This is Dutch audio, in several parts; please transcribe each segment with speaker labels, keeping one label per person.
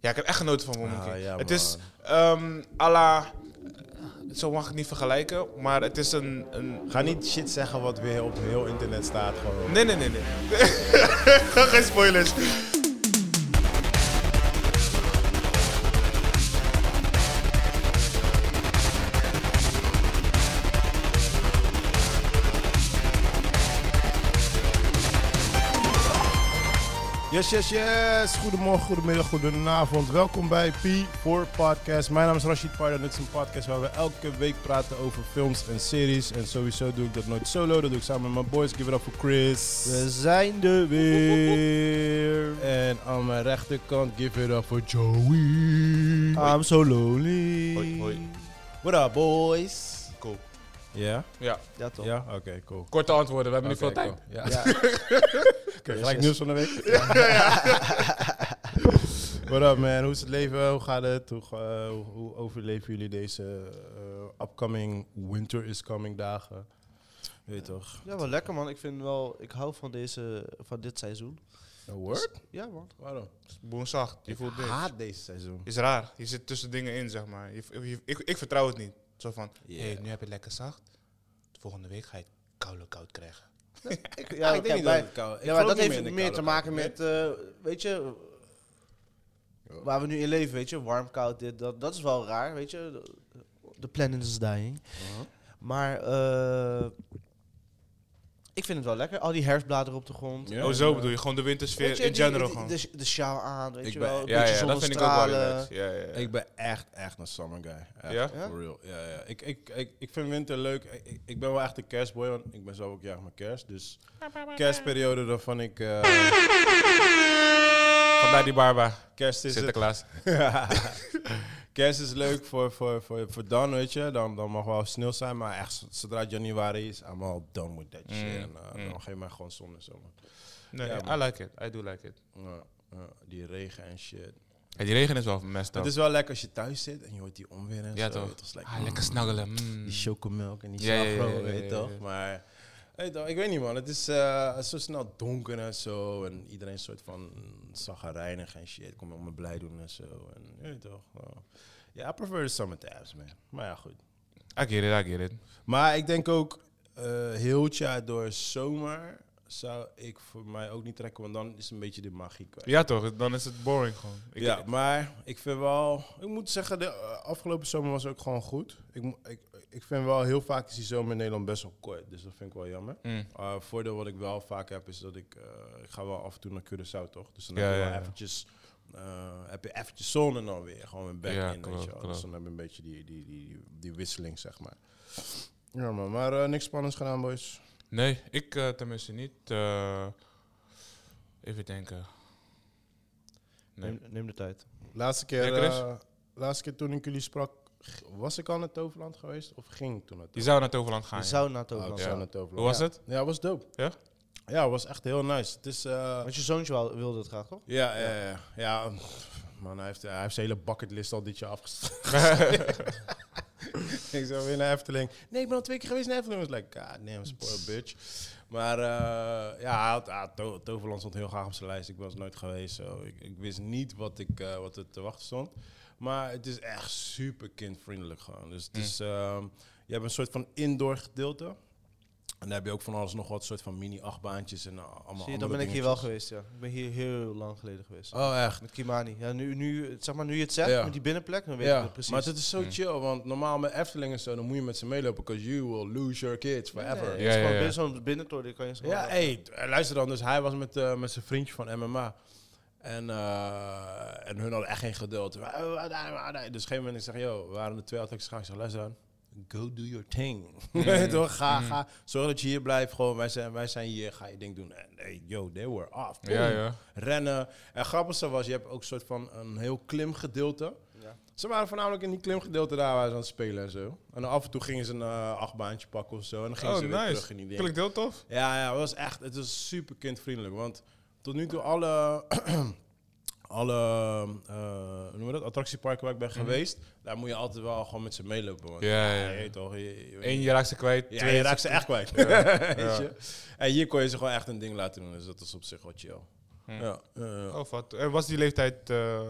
Speaker 1: Ja, ik heb echt genoten van Woman
Speaker 2: Ah,
Speaker 1: King.
Speaker 2: ja,
Speaker 1: het
Speaker 2: man.
Speaker 1: is ehm à la... Zo mag ik het niet vergelijken, maar het is een... een...
Speaker 2: Ga niet shit zeggen wat weer op heel internet staat. Gewoon.
Speaker 1: Nee, nee, nee, nee. Geen spoilers.
Speaker 2: Yes, yes, yes. Goedemorgen, goedemiddag, goedenavond. Welkom bij P4 Podcast. Mijn naam is Rashid Pardo. Dit is een podcast waar we elke week praten over films en series. En sowieso doe ik dat nooit solo. Dat doe ik samen met mijn boys. Give it up voor Chris.
Speaker 3: We zijn er weer.
Speaker 2: En aan mijn rechterkant, give it up voor Joey.
Speaker 3: I'm so lonely.
Speaker 1: Hoi, hoi.
Speaker 2: What up, boys?
Speaker 1: Cool.
Speaker 2: Ja?
Speaker 1: Ja,
Speaker 3: Ja, toch?
Speaker 2: Ja? Oké, cool.
Speaker 1: korte antwoorden, we hebben
Speaker 2: Oké,
Speaker 1: niet veel tijd.
Speaker 2: cool. Ja.
Speaker 3: Ja.
Speaker 2: Oké,
Speaker 3: Yes,
Speaker 2: gelijk
Speaker 3: yes.
Speaker 2: nieuws van de week. What up man, hoe is het leven? Hoe gaat het? Hoe, eh, hoe- hoe overleven jullie deze eh, upcoming winter is coming dagen? Weet je toch?
Speaker 3: Ja, wel lekker man. Ik vind wel, ik hou van deze, van dit seizoen.
Speaker 2: Een word?
Speaker 3: Ja man.
Speaker 2: Waarom?
Speaker 1: Boenzacht, je voelt dit.
Speaker 2: haat deze seizoen.
Speaker 1: Is raar. Je zit tussen dingen in, zeg maar. Je, je- ik, ik vertrouw het niet. Zo van,
Speaker 2: Ja.
Speaker 1: hey, nu heb je het lekker zacht. Volgende week ga je het koude koud krijgen.
Speaker 3: Ik,
Speaker 2: Ja,
Speaker 3: ja,
Speaker 2: Ah, ik denk
Speaker 3: kijk,
Speaker 2: niet
Speaker 3: wij-
Speaker 2: dat het koud ik
Speaker 3: ja, maar
Speaker 2: geloof
Speaker 3: dat
Speaker 2: niet
Speaker 3: heeft
Speaker 2: in de
Speaker 3: meer te
Speaker 2: koude
Speaker 3: maken
Speaker 2: kant.
Speaker 3: met, eh, weet je, waar we nu in leven, weet je, warm, koud, dit, dat, dat is wel raar, weet je. The planet is dying. Maar eh, ik vind het wel lekker, al die herfstbladeren op de grond.
Speaker 2: Ja.
Speaker 1: oh, zo bedoel je. Gewoon de wintersfeer
Speaker 3: Weet je,
Speaker 1: in
Speaker 3: die-
Speaker 1: general
Speaker 3: die-
Speaker 1: gewoon.
Speaker 3: De, de sjaal aan, weet
Speaker 2: Ik
Speaker 3: je
Speaker 2: ben-
Speaker 3: wel. Een
Speaker 1: ja,
Speaker 3: beetje
Speaker 1: ja, dat vind ik ook wel
Speaker 3: zonnestralen.
Speaker 1: relaxed. Ja, ja, ja.
Speaker 2: Ik ben echt, echt een summer guy. Echt,
Speaker 1: Ja?
Speaker 3: Ja?
Speaker 2: For real. Ja, ja. Ik, ik, ik, ik vind winter leuk. Ik, ik- ik ben wel echt een kerstboy, want ik ben zelf ook jarig met kerst. Dus kerstperiode, dan vond ik... eh,
Speaker 1: Vandaar die barba.
Speaker 2: kerst is het...
Speaker 1: Sinterklaas.
Speaker 2: kerst is leuk voor, voor, voor, voor dan, weet je. Dan, dan mag wel sneeuw zijn, maar echt z- zodra januari is, I'm all done with that shit.
Speaker 1: Mm,
Speaker 2: En, eh,
Speaker 1: mm.
Speaker 2: Dan geef mij gewoon zon en zo. man.
Speaker 1: Nee,
Speaker 2: Ja,
Speaker 1: I
Speaker 2: man.
Speaker 1: like it. I do like it.
Speaker 2: Ja, ja, die regen en shit.
Speaker 1: En die regen is wel messed
Speaker 2: Het is wel lekker als je thuis zit en je hoort die onweer en
Speaker 1: Ja,
Speaker 2: zo.
Speaker 1: toch.
Speaker 2: Het is
Speaker 1: Ah, lekker snuggelen. mm.
Speaker 2: Die chocomelk en die
Speaker 1: Ja, ja, ja,
Speaker 2: slagroom,
Speaker 1: ja, ja,
Speaker 2: weet je
Speaker 1: ja, ja.
Speaker 2: toch? Maar weet je toch, ik weet niet man, het is eh, zo snel donker en zo. En iedereen is soort van zagrijnig en shit. Kom je om me blij doen en zo. En, je weet toch? wel. Ja, I prefer the summertimes man. Maar ja, goed.
Speaker 1: I get it, I get it.
Speaker 2: Maar ik denk ook, eh, heel het jaar door zomer zou ik voor mij ook niet trekken. Want dan is een beetje de magie kwijt.
Speaker 1: Ja toch, dan is het boring gewoon. Ik-
Speaker 2: ja, maar ik vind wel, ik moet zeggen, de eh, afgelopen zomer was ook gewoon goed. Ik, mo- ik, ik vind wel heel vaak is die zomer in Nederland best wel kort, dus dat vind ik wel jammer.
Speaker 1: Mm.
Speaker 2: Eh, voordeel wat ik wel vaak heb is dat ik, eh, ik ga wel af en toe naar Curaçao toch? Dus dan
Speaker 1: Ja,
Speaker 2: heb je
Speaker 1: ja,
Speaker 2: wel
Speaker 1: ja.
Speaker 2: eventjes, eh, heb je eventjes zon en dan weer gewoon weer back
Speaker 1: Ja,
Speaker 2: in,
Speaker 1: klopt,
Speaker 2: weet je wel.
Speaker 1: klopt.
Speaker 2: Dus dan heb je een beetje die, die, die, die, die wisseling, zeg maar. Ja, man, maar eh, niks spannends gedaan, boys.
Speaker 1: Nee, ik eh, tenminste niet. eh, even denken. Nee.
Speaker 3: Neem, neem de tijd.
Speaker 2: Laatste keer,
Speaker 1: Ja, Chris?
Speaker 2: eh, laatste keer toen ik jullie sprak, g- was ik al naar Toverland geweest of ging ik toen naar
Speaker 1: Je
Speaker 2: Toverland?
Speaker 1: zou naar Toverland gaan.
Speaker 3: Je
Speaker 1: ja.
Speaker 3: zou naar het
Speaker 2: Oh,
Speaker 3: ook
Speaker 2: ik
Speaker 1: ja.
Speaker 2: zou naar Toverland.
Speaker 1: Hoe was
Speaker 2: Ja.
Speaker 1: het?
Speaker 2: Ja, het was dope.
Speaker 1: Ja?
Speaker 2: Ja, het was echt heel nice. Het is... eh,
Speaker 3: Want je zoontje wel- wilde het graag, toch?
Speaker 2: ja, ja, ja. ja. pff, Man, hij heeft, hij heeft zijn hele bucketlist al dit jaar afgestuurd. ik zou weer naar Efteling. Nee, ik ben al twee keer geweest naar Efteling. Ik was like, god damn, spoil bitch. Maar eh, ja, hij had- ah, To- Toverland stond heel graag op zijn lijst. Ik was nooit geweest. zo ik, ik wist niet wat, ik, eh, wat er te wachten stond. Maar het is echt super kindvriendelijk gewoon. Dus het
Speaker 1: Mm.
Speaker 2: is, ehm, je hebt een soort van indoor gedeelte. En dan heb je ook van alles nog wat soort van mini-achtbaantjes en eh, allemaal
Speaker 3: Zie je,
Speaker 2: andere
Speaker 3: dan ben ik hier
Speaker 2: dingetjes.
Speaker 3: wel geweest, ja. Ik ben hier heel lang geleden geweest.
Speaker 2: Oh, echt?
Speaker 3: Met Kimani. Ja, nu, nu, zeg maar, nu je het zegt,
Speaker 2: Ja.
Speaker 3: met die binnenplek, dan weet
Speaker 2: ja,
Speaker 3: ik het precies.
Speaker 2: maar het is zo
Speaker 1: Mm.
Speaker 2: chill, want normaal met Efteling en zo, dan moet je met ze meelopen, because you will lose your kids
Speaker 3: Nee,
Speaker 2: forever.
Speaker 1: Ja,
Speaker 3: nee, het is
Speaker 1: ja,
Speaker 3: gewoon
Speaker 1: ja.
Speaker 3: binnen zo'n binnentoren, die kan je zo...
Speaker 2: Ja, hey, t- eh, luister dan, dus hij was met, eh, met zijn vriendje van MMA. En, eh, en hun hadden echt geen geduld. Wa- wa- wa- wa- wa- Dus op een gegeven moment ik zeg, yo, we waren er twee altijd gaan. Ik zeg, luister dan, go do your thing. Weet je wel, ga,
Speaker 1: Mhm.
Speaker 2: ga, zorg dat je hier blijft. Gewoon, wij zijn, wij zijn hier, ga je ding doen. En hey, yo, they were off.
Speaker 1: Ja,
Speaker 2: Boom.
Speaker 1: ja.
Speaker 2: Rennen. En het grappigste was, je hebt ook een soort van een heel klimgedeelte.
Speaker 3: Ja.
Speaker 2: Ze waren voornamelijk in die klimgedeelte daar waar ze aan het spelen en zo. En dan af en toe gingen ze een eh, achtbaantje pakken of zo. En dan gingen
Speaker 1: Oh,
Speaker 2: ze weer
Speaker 1: nice.
Speaker 2: terug in die dingen.
Speaker 1: Klinkt heel tof.
Speaker 2: Ja, ja, het was echt, het was super kindvriendelijk. Want tot nu toe alle, alle eh, hoe noemen we dat, attractieparken waar ik ben geweest, daar moet je altijd wel gewoon met ze meelopen. Want,
Speaker 1: Mhm. Ja, ja.
Speaker 2: je weet toch, je, je,
Speaker 1: Eén, je raakt ze kwijt.
Speaker 2: ja,
Speaker 1: twee,
Speaker 2: je raakt ze echt kwijt. Weet
Speaker 1: Ja.
Speaker 2: je? En hier kon je ze gewoon echt een ding laten doen, dus dat is op zich wel chill.
Speaker 1: Hmm.
Speaker 2: Ja, eh,
Speaker 1: Oh, wat. En was die leeftijd eh,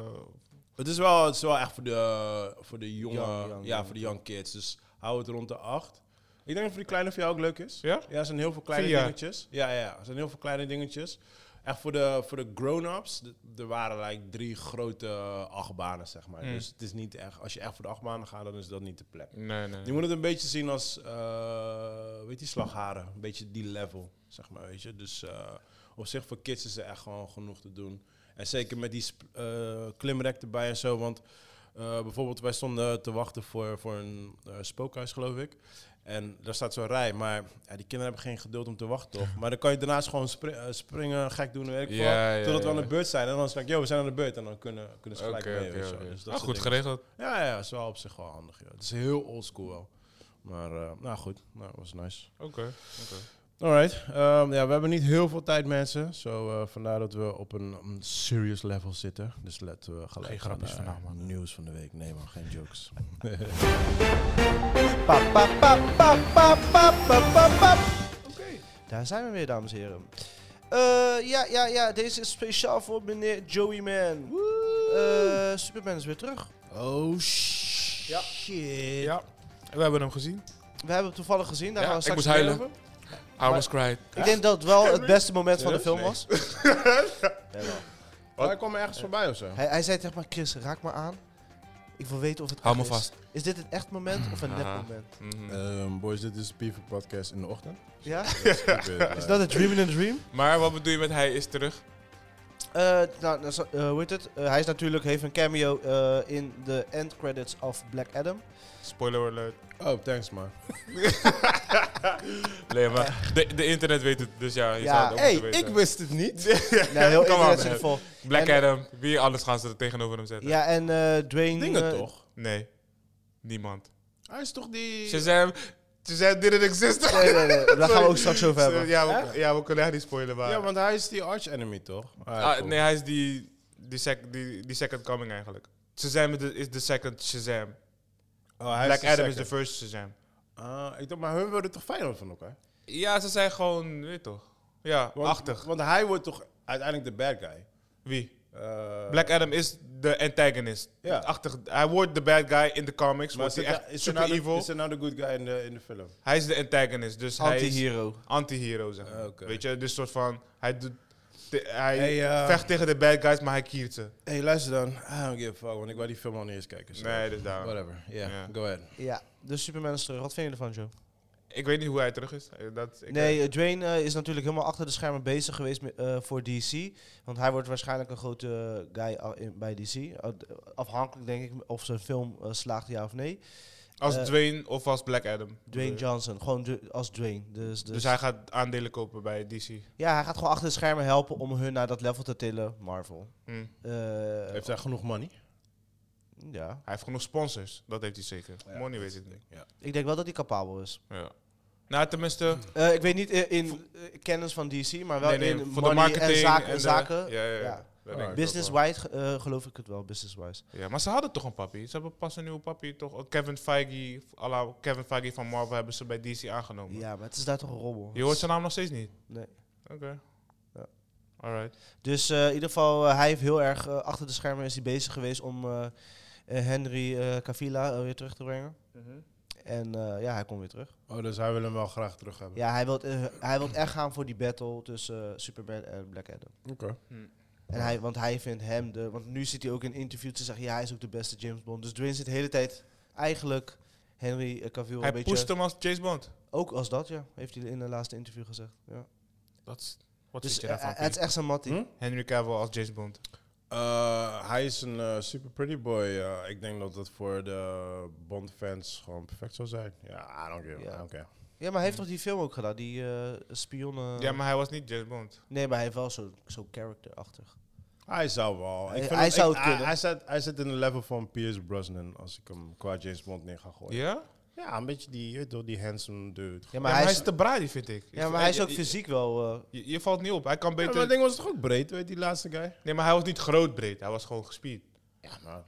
Speaker 2: Het is wel, het is wel echt voor de, voor de jonge,
Speaker 3: Young- young-
Speaker 2: ja,
Speaker 3: young.
Speaker 2: voor de young kids. Dus hou het rond de acht. Ik denk dat voor die kleine voor jou ook leuk is.
Speaker 1: Ja?
Speaker 2: Ja, er zijn heel veel kleine
Speaker 1: Vier jaar.
Speaker 2: dingetjes. Ja, ja, ja, er zijn heel veel kleine dingetjes. Echt voor de, voor de grown-ups, d- er waren like drie grote achtbanen, zeg maar.
Speaker 1: Mm.
Speaker 2: Dus het is niet echt, als je echt voor de achtbanen gaat, dan is dat niet de plek.
Speaker 1: Nee, nee.
Speaker 2: Je moet het een beetje zien als, eh, weet je, slagharen. Een beetje die level, zeg maar, weet je. Dus eh, op zich voor kids is er echt gewoon genoeg te doen. En zeker met die sp- eh, klimrek erbij en zo. Want eh, bijvoorbeeld, wij stonden te wachten voor, voor een eh, spookhuis, geloof ik. En daar staat zo'n rij, maar ja, die kinderen hebben geen geduld om te wachten, toch? Maar dan kan je daarnaast gewoon spri- eh, springen, gek doen, weet ik
Speaker 1: Ja,
Speaker 2: veel.
Speaker 1: ja,
Speaker 2: totdat we
Speaker 1: ja.
Speaker 2: aan de beurt zijn. En dan is het like, yo, we zijn aan de beurt. En dan kunnen, kunnen ze
Speaker 1: Oké,
Speaker 2: gelijk mee,
Speaker 1: oké,
Speaker 2: weet je wel.
Speaker 1: oké.
Speaker 2: Dus dat
Speaker 1: Ah,
Speaker 2: soort
Speaker 1: goed
Speaker 2: dingen.
Speaker 1: geregeld.
Speaker 2: Ja, ja, is wel op zich wel handig. Ja. Het is heel oldschool wel. Maar eh, nou goed, nou, was nice.
Speaker 1: Oké. oké.
Speaker 2: Alright, ehm, ja, we hebben niet heel veel tijd mensen. Zo eh, vandaar dat we op een, een serious level zitten. Dus laten we gelijk
Speaker 1: Geen grapjes
Speaker 2: gaan naar
Speaker 1: vandaag, man.
Speaker 2: nieuws van de week. Nee man, geen jokes.
Speaker 3: Pa, pa, pa, pa, pa, pa, pa, pa, pa. Daar zijn we weer, dames en heren. Eh, ja, ja, ja, deze is speciaal voor meneer Joey Man. Eh, Superman is weer terug.
Speaker 2: oh shit.
Speaker 3: Ja.
Speaker 1: Ja, we hebben hem gezien.
Speaker 3: We hebben hem toevallig gezien, daar
Speaker 1: Ja,
Speaker 3: gaan we
Speaker 1: ik
Speaker 3: straks
Speaker 1: moest
Speaker 3: meer
Speaker 1: huilen.
Speaker 3: over.
Speaker 1: I almost cried.
Speaker 3: Ik denk dat het wel het beste moment van de film was. Jawel.
Speaker 2: Maar hij kwam ergens voorbij of zo.
Speaker 3: Hij, hij zei tegen mij, Chris, raak me aan. Ik wil weten of het
Speaker 1: Hou me
Speaker 3: echt is.
Speaker 1: vast.
Speaker 3: Is dit een echt moment of een nep
Speaker 1: Aha.
Speaker 3: moment?
Speaker 1: Mhm.
Speaker 2: Ehm, boys, dit is Beaver Podcast in de ochtend. eh,
Speaker 3: Ja? Is
Speaker 2: is
Speaker 3: dat een dream in a dream?
Speaker 1: Maar wat bedoel je met hij is terug?
Speaker 3: Eh, nou, nou, zo- eh, hoe heet het? Eh, hij is natuurlijk, heeft een cameo eh, in de end credits of Black Adam.
Speaker 1: Spoiler alert.
Speaker 2: Oh, thanks man.
Speaker 1: Nee, maar de, de internet weet het, dus ja, je
Speaker 3: Ja,
Speaker 1: zou het ook
Speaker 2: Hey,
Speaker 1: moeten weten.
Speaker 2: ik wist het niet.
Speaker 3: Nou, heel
Speaker 1: Come on,
Speaker 3: internet zit
Speaker 1: man.
Speaker 3: vol.
Speaker 1: Black
Speaker 3: en-
Speaker 1: Adam, wie anders gaan ze er tegenover hem zetten?
Speaker 3: Ja, en eh, Dwayne...
Speaker 2: Dingen
Speaker 3: eh,
Speaker 2: toch?
Speaker 1: Nee, niemand.
Speaker 2: Hij is toch die...
Speaker 1: Shazam, Shazam didn't exist.
Speaker 3: Nee, nee, nee, daar gaan we
Speaker 1: Sorry.
Speaker 3: ook straks over hebben.
Speaker 1: Ja, we, ja, we kunnen haar niet spoilen, maar...
Speaker 2: Ja, want hij is die arch enemy toch?
Speaker 1: Ah, nee, hij is die, die, sec, die, die second coming eigenlijk. Shazam is de, is de second Shazam.
Speaker 2: Oh,
Speaker 1: Black Adam is de first Shazam.
Speaker 2: Ah, ik dacht, maar hun worden toch vijand van elkaar?
Speaker 1: Ja, ze zijn gewoon, weet je toch? Ja,
Speaker 2: Want,
Speaker 1: achtig.
Speaker 2: Want hij wordt toch uiteindelijk de bad guy.
Speaker 1: Wie?
Speaker 2: Eh,
Speaker 1: Black Adam is de antagonist.
Speaker 2: Ja.
Speaker 1: Achtig, hij wordt de bad guy in de comics,
Speaker 2: maar
Speaker 1: wordt hij
Speaker 2: is het-
Speaker 1: echt
Speaker 2: is
Speaker 1: super
Speaker 2: hij nou de-
Speaker 1: evil.
Speaker 2: Is hij nou de good guy in de, in de film?
Speaker 1: Hij is de antagonist, dus hij is
Speaker 3: Anti-hero.
Speaker 1: anti-hero, zeg maar.
Speaker 2: Ah, oké.
Speaker 1: Weet je, dus soort van, hij, doet, te- hij
Speaker 2: Hey, eh,
Speaker 1: vecht tegen de bad guys, maar hij kiert ze.
Speaker 2: hey, luister dan. I don't give a fuck, want ik wou die film al niet eens kijken. so
Speaker 1: Nee, dus daarom.
Speaker 2: Whatever, yeah,
Speaker 1: Ja.
Speaker 2: go ahead.
Speaker 3: Ja, dus Superman is terug. Wat vinden jullie ervan, Joe?
Speaker 1: Ik weet niet hoe hij terug is. Eh, Dat, ik
Speaker 3: nee, eh, Dwayne eh, is natuurlijk helemaal achter de schermen bezig geweest met, eh, voor DC. Want hij wordt waarschijnlijk een grote guy a- in- bij DC. Eh, afhankelijk, denk ik, of zijn film eh, slaagt, ja of nee.
Speaker 1: als
Speaker 3: eh,
Speaker 1: Dwayne of als Black Adam.
Speaker 3: Dwayne
Speaker 1: Dus-
Speaker 3: Johnson, gewoon du- als Dwayne. Dus, dus,
Speaker 1: Dus hij gaat aandelen kopen bij DC.
Speaker 3: ja, hij gaat gewoon achter de schermen helpen om hun naar dat level te tillen, Marvel.
Speaker 1: Hm.
Speaker 3: Eh,
Speaker 2: Heeft hij genoeg money?
Speaker 3: ja.
Speaker 1: Hij heeft genoeg sponsors, dat heeft hij zeker.
Speaker 2: Ja.
Speaker 1: Money weet ik niet.
Speaker 3: Ik denk wel dat hij capabel is.
Speaker 1: Ja. Nou, tenminste,
Speaker 3: Eh, ik weet niet in, in, eh, kennis van DC, maar wel
Speaker 1: nee, nee,
Speaker 3: in
Speaker 1: voor de
Speaker 3: money
Speaker 1: marketing
Speaker 3: en zaken.
Speaker 1: de-
Speaker 3: zaken.
Speaker 1: Ja, ja, ja.
Speaker 3: Ja.
Speaker 1: Dat denk ik ook wel.
Speaker 3: Business-wise eh, geloof ik het wel, business-wise.
Speaker 1: Ja, maar ze hadden toch een papi. Ze hebben pas een nieuwe papi, toch? Oh, Kevin Feige, à la Kevin Feige van Marvel hebben ze bij DC aangenomen.
Speaker 3: Ja, maar het is daar toch een rommel.
Speaker 1: Je hoort zijn naam nog steeds niet?
Speaker 3: Nee.
Speaker 1: Oké.
Speaker 3: Ja.
Speaker 1: Alright.
Speaker 3: Dus eh, in ieder geval, eh, hij heeft heel erg eh, achter de schermen is hij bezig geweest om eh, eh, Henry eh Cavilla eh, weer terug te brengen.
Speaker 2: Mhm.
Speaker 3: En eh, ja, hij komt weer terug.
Speaker 2: Oh, dus hij wil hem wel graag terug hebben.
Speaker 3: Ja, hij wil eh, hij wilt echt gaan voor die battle tussen eh, Superman en Black Adam.
Speaker 2: Oké.
Speaker 3: En hij, want hij vindt hem de. Want nu zit hij ook in interviews te zeggen: ja, hij is ook de beste James Bond. Dus Dwayne zit de hele tijd eigenlijk Henry eh, Cavill
Speaker 1: Hij
Speaker 3: een beetje.
Speaker 1: pusht hem als James Bond.
Speaker 3: Ook als dat, ja. Heeft hij in de laatste interview gezegd. Ja.
Speaker 1: Dat is, wat
Speaker 3: Dus
Speaker 1: vind je
Speaker 3: eh,
Speaker 1: daarvan?
Speaker 3: eh, het is
Speaker 1: Piet?
Speaker 3: echt zijn mattie.
Speaker 2: Hm?
Speaker 1: Henry Cavill als James Bond.
Speaker 2: Eh, hij is een eh, super pretty boy. eh, ik denk dat dat voor de Bond-fans gewoon perfect zou zijn. Ja, I don't give
Speaker 3: Ja.
Speaker 2: I don't care.
Speaker 3: Ja, maar hij heeft toch die film ook gedaan? Die eh, spionnen.
Speaker 1: Ja, maar hij was niet James Bond.
Speaker 3: Nee, maar hij heeft wel zo'n zo achtig
Speaker 2: Hij zou wel.
Speaker 3: Hij-
Speaker 2: Ik vind
Speaker 3: hij
Speaker 2: hem-
Speaker 3: zou
Speaker 2: ik-
Speaker 3: het kunnen.
Speaker 2: Hij zit, hij zit in de level van Pierce Brosnan als ik hem qua James Bond neer ga
Speaker 3: Oh,
Speaker 2: gooien. Ja,
Speaker 1: Ja?
Speaker 2: een beetje die, je weet wel, die handsome dude.
Speaker 3: Ja,
Speaker 1: Maar, hij, is te braai, vind ik.
Speaker 3: ja, maar hij is ook
Speaker 1: Je,
Speaker 3: fysiek wel. eh,
Speaker 1: je, je valt niet op. Hij kan
Speaker 2: Ja, maar dat
Speaker 1: beter...
Speaker 2: ding was toch ook breed, weet je, die laatste guy?
Speaker 1: Nee, maar hij was niet groot breed. Hij was gewoon gespierd.
Speaker 2: Ja, maar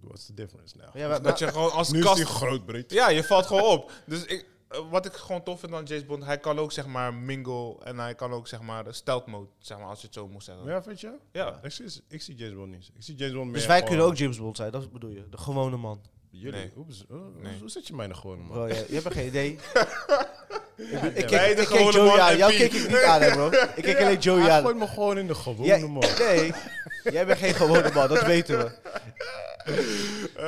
Speaker 2: what's the difference now?
Speaker 3: ja, maar,
Speaker 1: Dat je gewoon als
Speaker 2: nu is
Speaker 1: kast...
Speaker 2: hij groot breed.
Speaker 1: Ja, je valt gewoon op. Dus ik, eh, wat ik gewoon tof vind aan James Bond, hij kan ook zeg maar mingle en hij kan ook zeg maar eh, stealth mode, zeg maar, als je het zo moet zeggen. Ja.
Speaker 2: Ja, vind je? Ik zie, ik zie James Bond niet. Ik zie James Bond meer
Speaker 3: Dus wij
Speaker 2: gewoon-
Speaker 3: kunnen ook James Bond zijn, dat bedoel je. De gewone man.
Speaker 2: Jullie?
Speaker 1: Nee.
Speaker 2: Hoe, bes- hoe- hoe-
Speaker 1: Nee.
Speaker 2: hoe zet je mij nog gewoon, man?
Speaker 3: Bro, je, je hebt geen idee. ik ben- ik
Speaker 1: Wij
Speaker 3: kijk
Speaker 1: de
Speaker 3: ik keek
Speaker 1: gewone
Speaker 3: Joey
Speaker 1: man
Speaker 3: aan.
Speaker 1: en
Speaker 3: Jou
Speaker 1: Piet.
Speaker 3: keek ik niet aan, hè, bro. Ik keek alleen Joey
Speaker 2: Hij
Speaker 3: aan.
Speaker 2: gooit me gewoon in de gewone
Speaker 3: Jij-
Speaker 2: man.
Speaker 3: nee, jij bent geen gewone man, dat weten we.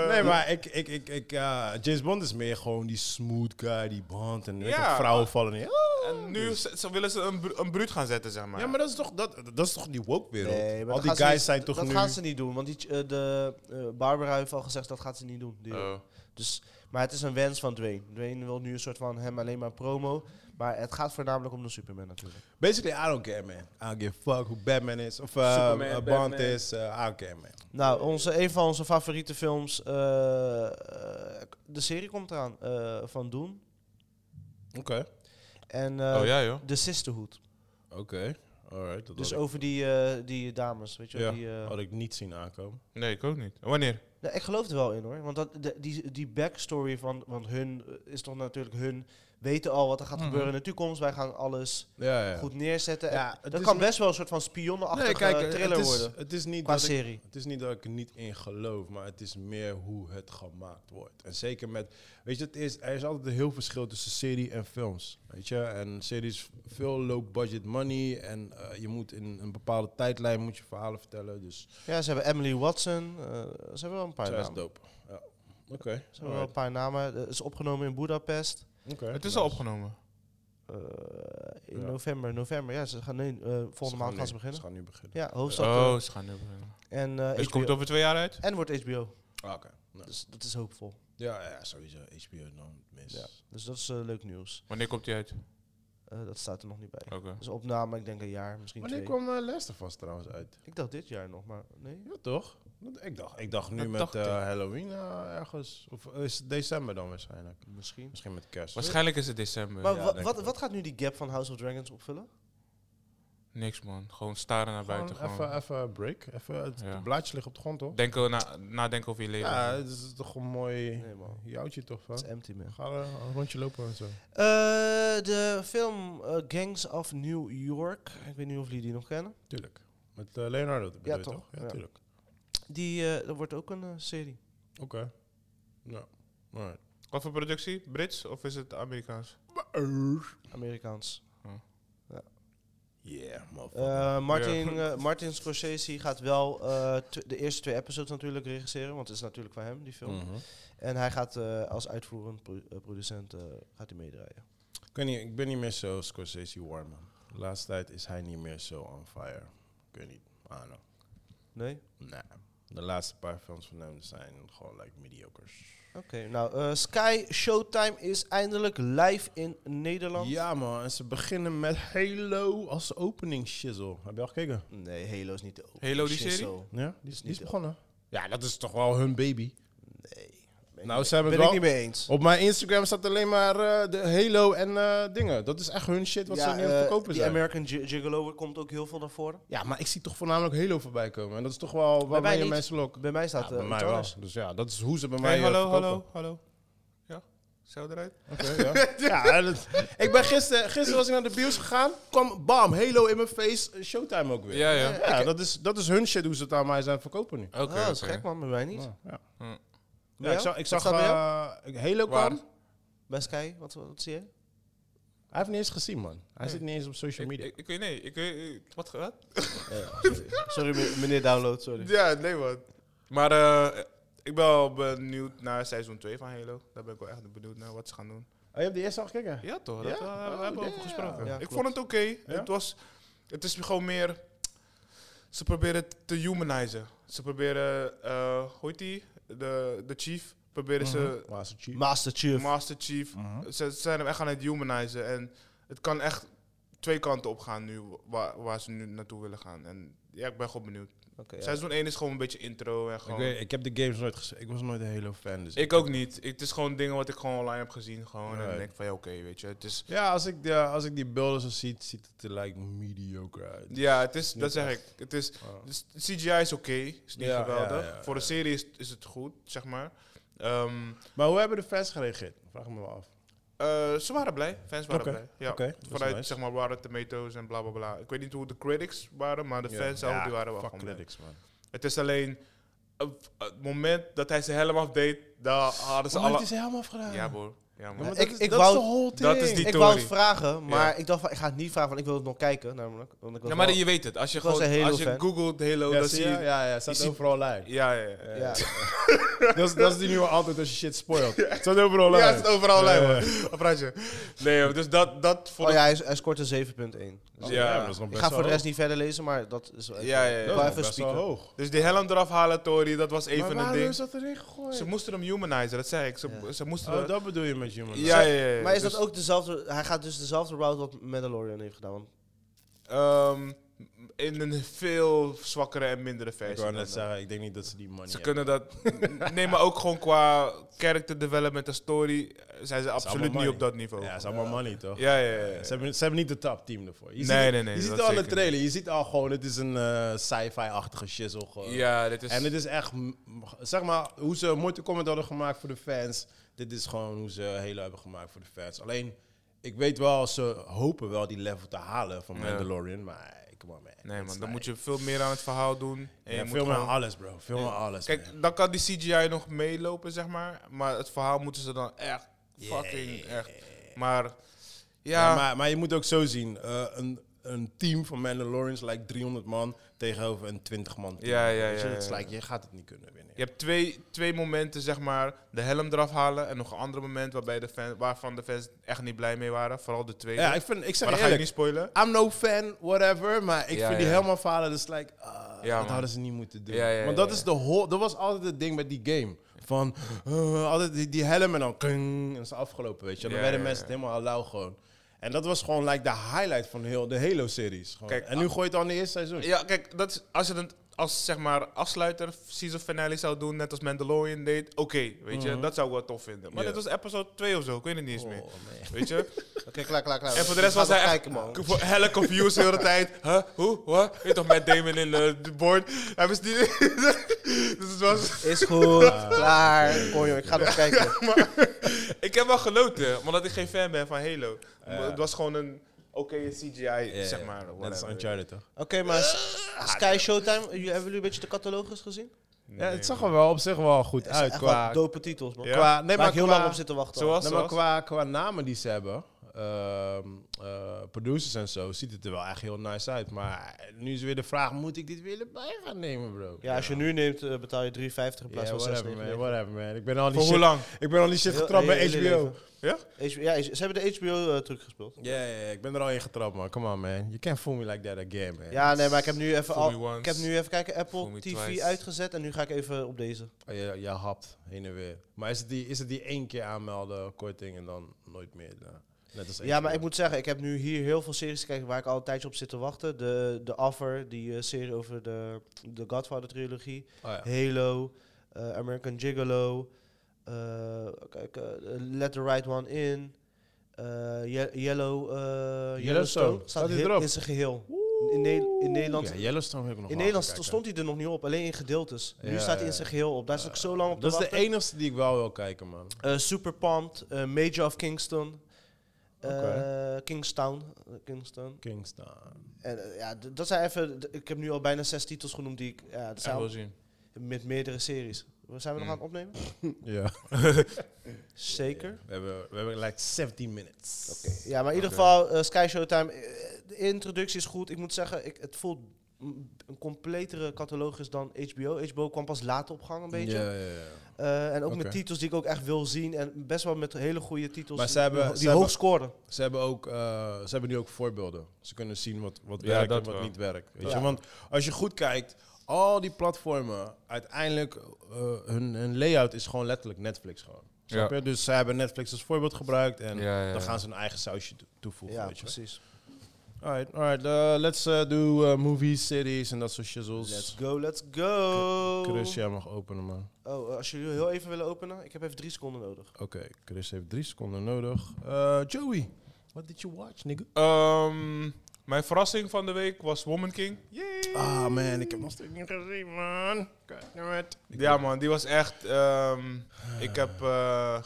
Speaker 2: nee, maar ik, ik, ik, ik, eh, James Bond is meer gewoon die smooth guy, die band. En weet
Speaker 1: Ja.
Speaker 2: je, vrouwen vallen in.
Speaker 1: En nu z- ze willen ze een, bru- een bruut gaan zetten, zeg maar.
Speaker 2: Ja, maar dat is toch, dat, dat is toch die woke wereld?
Speaker 3: Nee, maar
Speaker 2: Al
Speaker 3: dat
Speaker 2: die
Speaker 3: gaan ze
Speaker 2: guys
Speaker 3: niet-
Speaker 2: zijn toch
Speaker 3: Dat
Speaker 2: nu...
Speaker 3: gaan ze niet doen, want die, ch- eh, de, eh, Barbara heeft al gezegd dat gaat ze niet doen. die-
Speaker 1: Oh.
Speaker 3: Dus, maar het is een wens van Dwayne. Dwayne wil nu een soort van hem alleen maar promo. Maar het gaat voornamelijk om de Superman natuurlijk.
Speaker 2: Basically, I don't care, man. I don't give a fuck who Batman is. Of eh,
Speaker 4: Superman,
Speaker 2: eh, Bond
Speaker 4: Batman.
Speaker 2: is. eh, I don't care, man.
Speaker 3: Nou, onze, een van onze favoriete films. eh, eh, de serie komt eraan eh, van Doen.
Speaker 2: Oké.
Speaker 3: En eh,
Speaker 1: oh ja, joh.
Speaker 3: The Sisterhood.
Speaker 2: Oké. Alright. Dat
Speaker 3: Dus
Speaker 2: had, ik,
Speaker 3: over die, eh, die dames, weet je wel.
Speaker 2: Ja. Oh,
Speaker 3: die, eh,
Speaker 2: had ik niet zien aankomen.
Speaker 1: Nee, ik ook niet. Wanneer?
Speaker 3: Nou, ik geloof er wel in hoor. Want dat, de- die, die backstory van want hun eh, is toch natuurlijk hun weten al wat er gaat
Speaker 1: Mhm.
Speaker 3: gebeuren in de toekomst. Wij gaan alles
Speaker 2: Ja, ja.
Speaker 3: goed neerzetten.
Speaker 2: Ja,
Speaker 3: En
Speaker 2: het
Speaker 3: dat
Speaker 2: is
Speaker 3: kan
Speaker 2: niet-
Speaker 3: best wel een soort van spionnenachtige eh,
Speaker 2: eh,
Speaker 3: thriller
Speaker 2: het is,
Speaker 3: worden.
Speaker 2: Het is, niet
Speaker 3: Qua
Speaker 2: dat ik,
Speaker 3: serie.
Speaker 2: het is niet dat ik er niet in geloof, maar het is meer hoe het gemaakt wordt. En zeker met, weet je, het is, er is altijd een heel verschil tussen serie en films. Weet je, en series veel low budget money en eh, je moet in een bepaalde tijdlijn moet je verhalen vertellen. Dus
Speaker 3: Ja, ze hebben Emily Watson. eh, ze hebben wel een paar
Speaker 2: dat is
Speaker 3: namen.
Speaker 2: dope. Ja. Oké.
Speaker 3: Ze hebben wel een paar namen. Eh, Het is opgenomen in Budapest.
Speaker 2: Oké.
Speaker 1: Het is al opgenomen.
Speaker 3: eh, in
Speaker 2: Ja.
Speaker 3: november. November, ja, ze gaan nee, eh,
Speaker 2: Ze gaan
Speaker 3: volgende maand
Speaker 2: nu-
Speaker 3: gaan ze beginnen.
Speaker 2: Ze gaan nu beginnen.
Speaker 3: Ja, hoofdstad. eh,
Speaker 1: Oh, ze gaan nu beginnen.
Speaker 3: en,
Speaker 1: Dus
Speaker 3: eh,
Speaker 1: het
Speaker 3: HBO.
Speaker 1: komt over twee jaar uit?
Speaker 3: en wordt HBO.
Speaker 2: Ah, Oké. Nou,
Speaker 3: Dus dat is hoopvol.
Speaker 2: Ja, ja, sowieso. HBO dan mis.
Speaker 3: Ja. Dus dat is eh, leuk nieuws.
Speaker 1: Wanneer komt die uit?
Speaker 3: Eh, dat staat er nog niet bij.
Speaker 1: Oké.
Speaker 3: Dus opname, ik denk een jaar, misschien
Speaker 2: Wanneer
Speaker 3: twee.
Speaker 2: kwam eh Last of Us trouwens uit?
Speaker 3: Ik dacht dit jaar nog, maar nee.
Speaker 2: Ja, toch? Want Ik dacht, ik dacht nu
Speaker 1: Dat
Speaker 2: met
Speaker 1: dacht
Speaker 2: eh,
Speaker 1: ik.
Speaker 2: Halloween eh, ergens. Of eh, is het december dan waarschijnlijk?
Speaker 3: Misschien.
Speaker 2: Misschien met kerst.
Speaker 1: Waarschijnlijk is het december.
Speaker 3: Maar
Speaker 2: Ja,
Speaker 3: wa-
Speaker 2: denk ik
Speaker 3: wat,
Speaker 2: wel.
Speaker 3: wat gaat nu die gap van House of Dragons opvullen?
Speaker 1: Niks man, gewoon staren naar
Speaker 2: Gewoon
Speaker 1: buiten. Gewoon
Speaker 2: even, even break. Even, het
Speaker 1: Ja.
Speaker 2: blaadje ligt op de grond, toch?
Speaker 1: Denken, na, nadenken over je leven.
Speaker 2: Ja, het is toch een mooi
Speaker 3: Nee, man.
Speaker 2: joutje, toch?
Speaker 3: Het
Speaker 2: Van?
Speaker 3: is empty, man.
Speaker 2: Ga eh, een rondje lopen en zo.
Speaker 3: Eh, de film eh, Gangs of New York. Ik weet niet of jullie die nog kennen.
Speaker 2: Tuurlijk. Met eh, Leonardo, bedoel
Speaker 3: Ja,
Speaker 2: je,
Speaker 3: toch?
Speaker 2: toch? Ja,
Speaker 3: Ja.
Speaker 2: tuurlijk.
Speaker 3: Die eh, dat wordt ook een eh, serie.
Speaker 2: Oké. Nou, alright.
Speaker 1: Wat voor productie? Brits of is het Amerikaans?
Speaker 3: Amerikaans.
Speaker 2: Yeah, motherfucker.
Speaker 3: Eh, Martin,
Speaker 1: Ja.
Speaker 3: eh, Martin Scorsese gaat wel eh, tw- de eerste twee episodes natuurlijk regisseren. Want het is natuurlijk van hem, die film.
Speaker 2: Mhm.
Speaker 3: En hij gaat eh, als uitvoerend pro- eh, producent eh, gaat hij meedraaien.
Speaker 2: Ik, weet niet, ik ben niet meer zo Scorsese warm, man. De laatste tijd is hij niet meer zo on fire. Ik weet niet. I don't know.
Speaker 3: Nee?
Speaker 2: Nee. De laatste paar films van hem zijn gewoon like mediocres.
Speaker 3: Oké, nou, eh, Sky Showtime is eindelijk live in Nederland.
Speaker 2: Ja man, en ze beginnen met Halo als opening shizzle. Heb je al gekeken?
Speaker 3: Nee, Halo is niet de open.
Speaker 1: Halo, die
Speaker 3: Shit,
Speaker 1: serie?
Speaker 3: zo.
Speaker 2: Ja, die is,
Speaker 3: die is
Speaker 2: begonnen. Ja, dat is toch wel hun baby. Nou, ze hebben
Speaker 3: Ben
Speaker 2: het
Speaker 3: ik
Speaker 2: wel...
Speaker 3: niet mee eens.
Speaker 2: Op mijn Instagram staat alleen maar eh, de Halo en eh, dingen. Dat is echt hun shit wat ze nu aan het
Speaker 3: eh,
Speaker 2: verkopen
Speaker 3: die
Speaker 2: zijn.
Speaker 3: American Gi- Gigolo komt ook heel veel naar voren.
Speaker 2: ja, maar ik zie toch voornamelijk Halo voorbij komen. En dat is toch wel
Speaker 3: Bij mij
Speaker 2: waarmee je
Speaker 3: niet.
Speaker 2: mensen lokt.
Speaker 3: Bij mij staat
Speaker 2: Ja,
Speaker 3: eh
Speaker 2: bij mij
Speaker 3: iets
Speaker 2: wel.
Speaker 3: anders.
Speaker 2: Dus ja, dat is hoe ze bij mij
Speaker 1: Hey,
Speaker 2: eh,
Speaker 1: hallo,
Speaker 2: verkopen.
Speaker 1: hallo, hallo. Ja, zo eruit.
Speaker 2: Oké, ja. ja dat- ik ben gisteren, gisteren was ik naar de bios gegaan, kwam bam, Halo in mijn face, eh, Showtime ook weer.
Speaker 1: Ja, ja. Ah,
Speaker 2: Ja, dat is, dat is hun shit hoe ze het aan mij zijn verkopen nu.
Speaker 1: Oké,
Speaker 3: oh, dat is
Speaker 1: oké.
Speaker 3: gek man, bij mij niet.
Speaker 2: Ja, ja.
Speaker 1: Hm.
Speaker 3: Bij
Speaker 2: ik
Speaker 3: jou?
Speaker 2: zag, ik
Speaker 3: Wat
Speaker 2: zag
Speaker 3: staat bij jou?
Speaker 2: eh, Halo
Speaker 1: Waar?
Speaker 2: kwam.
Speaker 3: Bij Sky, wat, wat zie je?
Speaker 2: Hij heeft niet eens gezien, man. Hij zit niet eens op social
Speaker 1: Ik,
Speaker 2: media.
Speaker 1: ik, ik weet nee, ik weet eh, wat wat?
Speaker 3: Sorry me- meneer Download, sorry.
Speaker 1: Ja, nee man. Maar eh, ik ben wel benieuwd naar seizoen 2 van Halo. Daar ben ik wel echt benieuwd naar wat ze gaan doen.
Speaker 2: Oh, je hebt die eerste al gekeken?
Speaker 1: Ja toch,
Speaker 2: Ja?
Speaker 1: dat, eh, we
Speaker 2: Oh,
Speaker 1: hebben
Speaker 2: ja,
Speaker 1: over gesproken.
Speaker 3: ja. Ja,
Speaker 1: ik
Speaker 3: klopt.
Speaker 1: vond het oké. Het, was, het is gewoon meer... Ze proberen het te humanizen. Ze proberen... eh hoe heet die? De, de chief. Proberen ze...
Speaker 2: Maar ze cheap.
Speaker 3: Master Chief.
Speaker 1: Master chief.
Speaker 2: Mhm.
Speaker 1: Ze, ze zijn hem echt aan het humanizen. En het kan echt twee kanten op gaan nu. Waar, waar ze nu naartoe willen gaan. En ja, ik ben gewoon benieuwd.
Speaker 3: Oké, ja.
Speaker 1: Seizoen 1 is gewoon een beetje intro. En gewoon,
Speaker 2: Ik, weet, ik heb de games nooit gezien. Ik was nooit een Halo fan. Dus
Speaker 1: ik ook niet. Ik- Het is gewoon dingen wat ik gewoon online heb gezien. Gewoon. En
Speaker 2: Nee.
Speaker 1: dan denk ik van ja, oké, weet je. Het is...
Speaker 2: Ja, als ik, de, als ik die beelden zo zie, ziet het er like mediocre uit.
Speaker 1: Ja, het is,
Speaker 2: Niet
Speaker 1: dat zeg ik. Het is, Dus de CGI is oké, is niet
Speaker 2: Ja,
Speaker 1: geweldig.
Speaker 2: ja, ja,
Speaker 1: Voor de serie is, is het goed, zeg maar. Ehm,
Speaker 2: Maar hoe hebben de fans gereageerd? Vraag ik me wel af.
Speaker 1: Eh, ze waren blij, fans waren
Speaker 2: Oké,
Speaker 1: blij. Ja.
Speaker 2: Oké, dat is
Speaker 1: Vanuit,
Speaker 2: nice.
Speaker 1: zeg maar, waren tomatoes en bla bla bla. Ik weet niet hoe de critics waren, maar de
Speaker 2: Ja.
Speaker 1: fans zelf,
Speaker 2: Ja,
Speaker 1: die waren wel
Speaker 2: fuck
Speaker 1: gewoon blij.
Speaker 2: critics, man.
Speaker 1: Het is alleen, op het moment dat hij zijn helm afdeed, daar hadden ze
Speaker 2: Oh, maar het
Speaker 1: alle...
Speaker 2: is helemaal gedaan.
Speaker 1: Ja, broer. Ja, man.
Speaker 2: Ja, maar
Speaker 3: Ik-
Speaker 2: dat is,
Speaker 3: ik
Speaker 2: dat
Speaker 3: wou-
Speaker 2: is de whole thing.
Speaker 1: dat is die-
Speaker 3: Ik
Speaker 1: theorie.
Speaker 3: wou het vragen, maar
Speaker 1: Ja.
Speaker 3: ik dacht van, ik ga het niet vragen, want ik wil het nog kijken. Namelijk, want ik was
Speaker 1: Ja, maar
Speaker 3: wel-
Speaker 1: je weet het. Als je,
Speaker 3: Ik was
Speaker 1: gewoon,
Speaker 3: een Halo
Speaker 1: als je
Speaker 3: fan.
Speaker 1: googelt Halo,
Speaker 2: Ja,
Speaker 1: dan
Speaker 2: zie
Speaker 1: zie
Speaker 2: je?
Speaker 1: je...
Speaker 2: Ja, ja, staat
Speaker 1: ziet-
Speaker 2: overal online.
Speaker 1: Ja, ja, ja.
Speaker 3: ja. Oh
Speaker 2: dat, is, dat is die nieuwe antwoord als je shit spoilt. staat overal
Speaker 1: Ja,
Speaker 2: online.
Speaker 1: het is overal lijn,
Speaker 2: Ja.
Speaker 1: man. Wat praat je? Nee, joh, dus dat, dat vond
Speaker 3: Oh
Speaker 1: ik...
Speaker 3: ja, hij, is- hij scoort een 7.1.
Speaker 2: Oh,
Speaker 1: Ja.
Speaker 2: maar dat is nog
Speaker 3: Ik
Speaker 2: best
Speaker 3: ga
Speaker 2: wel
Speaker 3: voor de
Speaker 2: hoog.
Speaker 3: rest niet verder lezen, maar dat is wel even-
Speaker 1: Ja, ja, ja.
Speaker 3: Ik
Speaker 2: Dat
Speaker 3: wou
Speaker 2: is
Speaker 3: even
Speaker 2: nog best wel
Speaker 3: spieken.
Speaker 2: hoog.
Speaker 1: Dus die helm eraf halen, Tori, dat was even een ding.
Speaker 2: ze dat erin gegooid?
Speaker 1: Ze moesten hem humanizen, dat zei ik. Ze,
Speaker 3: Ja.
Speaker 1: ze moesten...
Speaker 2: oh, dat bedoel je met human.
Speaker 1: ja, ja, ja, ja.
Speaker 3: Maar is
Speaker 1: Dus,
Speaker 3: dat ook dezelfde... Hij gaat dus dezelfde route wat Mandalorian heeft gedaan. want-
Speaker 1: ehm, in een veel zwakkere en mindere versie.
Speaker 2: Ik wou
Speaker 1: dan
Speaker 2: net
Speaker 1: dat.
Speaker 2: zeggen, ik denk niet dat ze die money
Speaker 1: Ze kunnen dat. Nee, maar ook gewoon qua character development en story eh, zijn ze absoluut
Speaker 2: allemaal
Speaker 1: niet op
Speaker 2: money.
Speaker 1: dat niveau.
Speaker 2: Ja, het is allemaal money, toch?
Speaker 1: Ja, ja, ja. ja.
Speaker 2: Ze, hebben, ze hebben niet de top team ervoor. Je
Speaker 1: Nee,
Speaker 2: ziet,
Speaker 1: nee, nee,
Speaker 2: Je ziet
Speaker 1: dat
Speaker 2: al in de
Speaker 1: zeker
Speaker 2: trailer, je ziet al gewoon, het is een eh, sci-fi-achtige shizzle. gewoon.
Speaker 1: Ja, dit is.
Speaker 2: eh, En het is echt, m- zeg maar, hoe ze Mortal Kombat hadden gemaakt voor de fans. Dit is gewoon hoe ze Halo hebben gemaakt voor de fans. Alleen, ik weet wel, ze hopen wel die level te halen van
Speaker 1: Ja.
Speaker 2: Mandalorian. Maar, come on man.
Speaker 1: nee, man, dan moet
Speaker 2: je...
Speaker 1: je veel meer aan het verhaal doen. En je
Speaker 2: Ja,
Speaker 1: moet
Speaker 2: film
Speaker 1: gewoon-
Speaker 2: en alles, bro. Film en alles, man.
Speaker 1: Kijk, dan kan die CGI nog meelopen, zeg maar. Maar het verhaal moeten ze dan echt. Fucking echt. Maar.
Speaker 2: Ja,
Speaker 1: Ja,
Speaker 2: maar, maar je moet ook zo zien. eh, een, een team van Mandalorians lijkt 300 man tegenover een 20 man team.
Speaker 1: Ja, ja,
Speaker 2: Weet je,
Speaker 1: ja,
Speaker 2: het is
Speaker 1: ja,
Speaker 2: like, je gaat het niet kunnen winnen.
Speaker 1: je hebt twee, twee momenten, zeg maar. De helm eraf halen en nog een ander moment waarbij de fan, waarvan de fans echt niet blij mee waren. Vooral de tweede.
Speaker 2: Ja, ik, vind, ik zeg
Speaker 1: maar
Speaker 2: je
Speaker 1: dat ga je
Speaker 2: eerlijk.
Speaker 1: niet spoilen.
Speaker 2: I'm no fan, whatever. Maar ik
Speaker 1: Ja,
Speaker 2: vind die
Speaker 1: ja.
Speaker 2: helemaal falen. Dus like, ah,
Speaker 1: Ja,
Speaker 2: dat
Speaker 1: man.
Speaker 2: hadden ze niet moeten doen.
Speaker 1: Ja, ja,
Speaker 2: Want dat
Speaker 1: ja,
Speaker 2: is
Speaker 1: ja.
Speaker 2: de whole... Dat was altijd het ding met die game. Van, eh, altijd die, die helm en dan... kling, en het is afgelopen, weet je. En dan
Speaker 1: Ja,
Speaker 2: werden
Speaker 1: ja,
Speaker 2: mensen het helemaal lauw gewoon. En dat was gewoon like de highlight van heel de Halo-series. gewoon.
Speaker 1: Kijk, ah,
Speaker 2: en nu gooi je het al in de eerste seizoen.
Speaker 1: Ja, kijk, dat is, als je het als zeg maar afsluiter season finale zou doen, net als Mandalorian deed, oké, weet je, dat zou ik wel tof vinden. Maar
Speaker 2: Mhm. Ja.
Speaker 1: dit was episode 2 of zo, ik weet het niet eens meer.
Speaker 2: Oh, man.
Speaker 1: Weet je?
Speaker 3: Oké, klaar, klaar, klaar.
Speaker 1: En voor de
Speaker 3: Ik
Speaker 1: rest
Speaker 3: ga
Speaker 1: was
Speaker 3: nog
Speaker 1: hij echt
Speaker 3: kijken, man.
Speaker 1: voor hella confused de hele tijd. Huh? Hoe? What? Weet toch met Damon in eh, de board? Hij was niet... dus het was...
Speaker 3: Is goed, klaar. Kom joh, ik ga nog kijken.
Speaker 1: Ik heb wel genoten, omdat ik geen fan ben van Halo. Maar Het was gewoon een oké CGI, zeg maar.
Speaker 2: Dat is
Speaker 1: whatever.
Speaker 2: Uncharted, toch?
Speaker 3: Oké, maar S- Sky Showtime, jullie- hebben jullie een beetje de catalogus gezien?
Speaker 2: Ja, het zag er wel op zich wel goed
Speaker 3: Het zijn
Speaker 2: uit.
Speaker 3: echt
Speaker 2: Qua,
Speaker 3: wel dope titels, man.
Speaker 1: Ja.
Speaker 2: qua, nee,
Speaker 3: Waar
Speaker 2: maar
Speaker 3: ik heel
Speaker 2: qua,
Speaker 3: lang op zitten wachten. al.
Speaker 1: Zoals-
Speaker 2: nee, maar qua, qua namen die ze hebben, ehm, eh, producers en zo, ziet het er wel echt heel nice uit. Maar nu is weer de vraag, moet ik dit weer erbij gaan nemen, bro?
Speaker 3: Ja, als je nu neemt, eh, betaal je 3,50 in
Speaker 2: Ja,
Speaker 3: plaats van
Speaker 2: whatever, man,
Speaker 3: 6,99.
Speaker 2: whatever, man. Ik ben al die
Speaker 1: Voor hoe
Speaker 2: shit,
Speaker 1: lang?
Speaker 2: ik ben al die shit
Speaker 3: Heel-
Speaker 2: getrapt bij
Speaker 3: heel- heel
Speaker 2: HBO.
Speaker 3: leven.
Speaker 1: Ja?
Speaker 3: HBO Ja, ze hebben de HBO-truc eh, gespeeld.
Speaker 2: Ja, ja, ja, ik ben er al in getrapt, man. Come on, man. You can't fool me like that again, man.
Speaker 3: Ja, nee, maar ik heb nu even,
Speaker 1: Fool me
Speaker 3: al,
Speaker 1: once,
Speaker 3: ik heb nu even kijken,
Speaker 1: fool
Speaker 3: Apple
Speaker 1: me
Speaker 3: TV
Speaker 1: twice.
Speaker 3: uitgezet en nu ga ik even op deze.
Speaker 2: Oh, je, je hapt heen en weer. Maar is het die, is het die één keer aanmelden, korting, en dan nooit meer? eh, net als
Speaker 3: Ja, maar
Speaker 2: HBO?
Speaker 3: ik moet zeggen, ik heb nu hier heel veel series gekeken waar ik al een tijdje op zit te wachten. De, de Offer, die eh, serie over de, de Godfather-trilogie.
Speaker 2: Oh, ja.
Speaker 3: Halo, eh, American Gigolo, eh, kijk, eh, Let the Right One In, eh, Ye- Yellow, eh, Yellowstone.
Speaker 2: Staat
Speaker 3: Staat
Speaker 2: hij
Speaker 3: heel-
Speaker 2: erop?
Speaker 3: in zijn geheel. In, Ne- in Nederland,
Speaker 2: Ja, Yellowstone heb ik nog
Speaker 3: in
Speaker 2: wel
Speaker 3: Nederland
Speaker 2: gekeken.
Speaker 3: stond hij er nog niet op, alleen in gedeeltes. Nu
Speaker 2: Ja,
Speaker 3: staat hij
Speaker 2: ja,
Speaker 3: in zijn geheel op, daar is ik zo lang op
Speaker 2: Dat is
Speaker 3: te
Speaker 2: de
Speaker 3: wachten.
Speaker 2: enige die ik wel wil kijken, man.
Speaker 3: Eh, Super Pumped, eh, Major of Kingston. eh,
Speaker 2: Oké.
Speaker 3: Kingstown. eh, Kingston.
Speaker 2: Kingston.
Speaker 3: En, eh, ja, d- dat zijn even. d- Ik heb nu al bijna zes titels genoemd die ik. Ja, dat zijn
Speaker 1: wil
Speaker 3: al-
Speaker 1: zien.
Speaker 3: met meerdere series. Zijn
Speaker 2: Mm.
Speaker 3: we nog aan het opnemen?
Speaker 2: Ja.
Speaker 3: Zeker.
Speaker 2: We hebben, we hebben like 17 minutes.
Speaker 3: Oké, Ja, maar in ieder geval, eh, Sky Showtime, eh, de introductie is goed. Ik moet zeggen, ik, het voelt mm, een completere catalogus dan HBO. HBO kwam pas later op gang een beetje.
Speaker 2: Ja, ja, ja.
Speaker 3: Eh, en ook
Speaker 2: Oké.
Speaker 3: met titels die ik ook echt wil zien. En best wel met hele goede titels
Speaker 2: Maar ze hebben-
Speaker 3: die,
Speaker 2: ze
Speaker 3: die
Speaker 2: hebben-
Speaker 3: hoog scoren.
Speaker 2: Ze hebben, ook, eh, ze hebben nu ook voorbeelden. Ze kunnen zien wat, wat
Speaker 1: Ja,
Speaker 2: werkt en
Speaker 1: dat
Speaker 2: wat
Speaker 1: wel.
Speaker 2: niet werkt. Weet
Speaker 3: Ja.
Speaker 2: je? Want als je goed kijkt, al die platformen, uiteindelijk, eh, hun, hun layout is gewoon letterlijk Netflix gewoon. Snap je? Dus ze hebben Netflix als voorbeeld gebruikt en
Speaker 1: Ja, ja,
Speaker 2: dan
Speaker 1: ja.
Speaker 2: gaan ze hun eigen sausje toe- toevoegen.
Speaker 3: Ja,
Speaker 2: weet je?
Speaker 3: precies.
Speaker 2: Alright, alright. eh, let's eh, do eh, movies, series en dat soort shizzles.
Speaker 3: Let's go, let's go.
Speaker 2: Chris, jij mag openen, man.
Speaker 3: Oh, eh, als jullie heel even willen openen, ik heb even drie seconden nodig.
Speaker 2: Oké, Chris heeft drie seconden nodig. Eh, Joey, what did you watch, nigga?
Speaker 1: Ehm, mijn verrassing van de week was Woman King.
Speaker 2: Ah, man, ik heb nog steeds niet gezien, man.
Speaker 1: Ja, man, die was echt. ehm, ik heb. eh,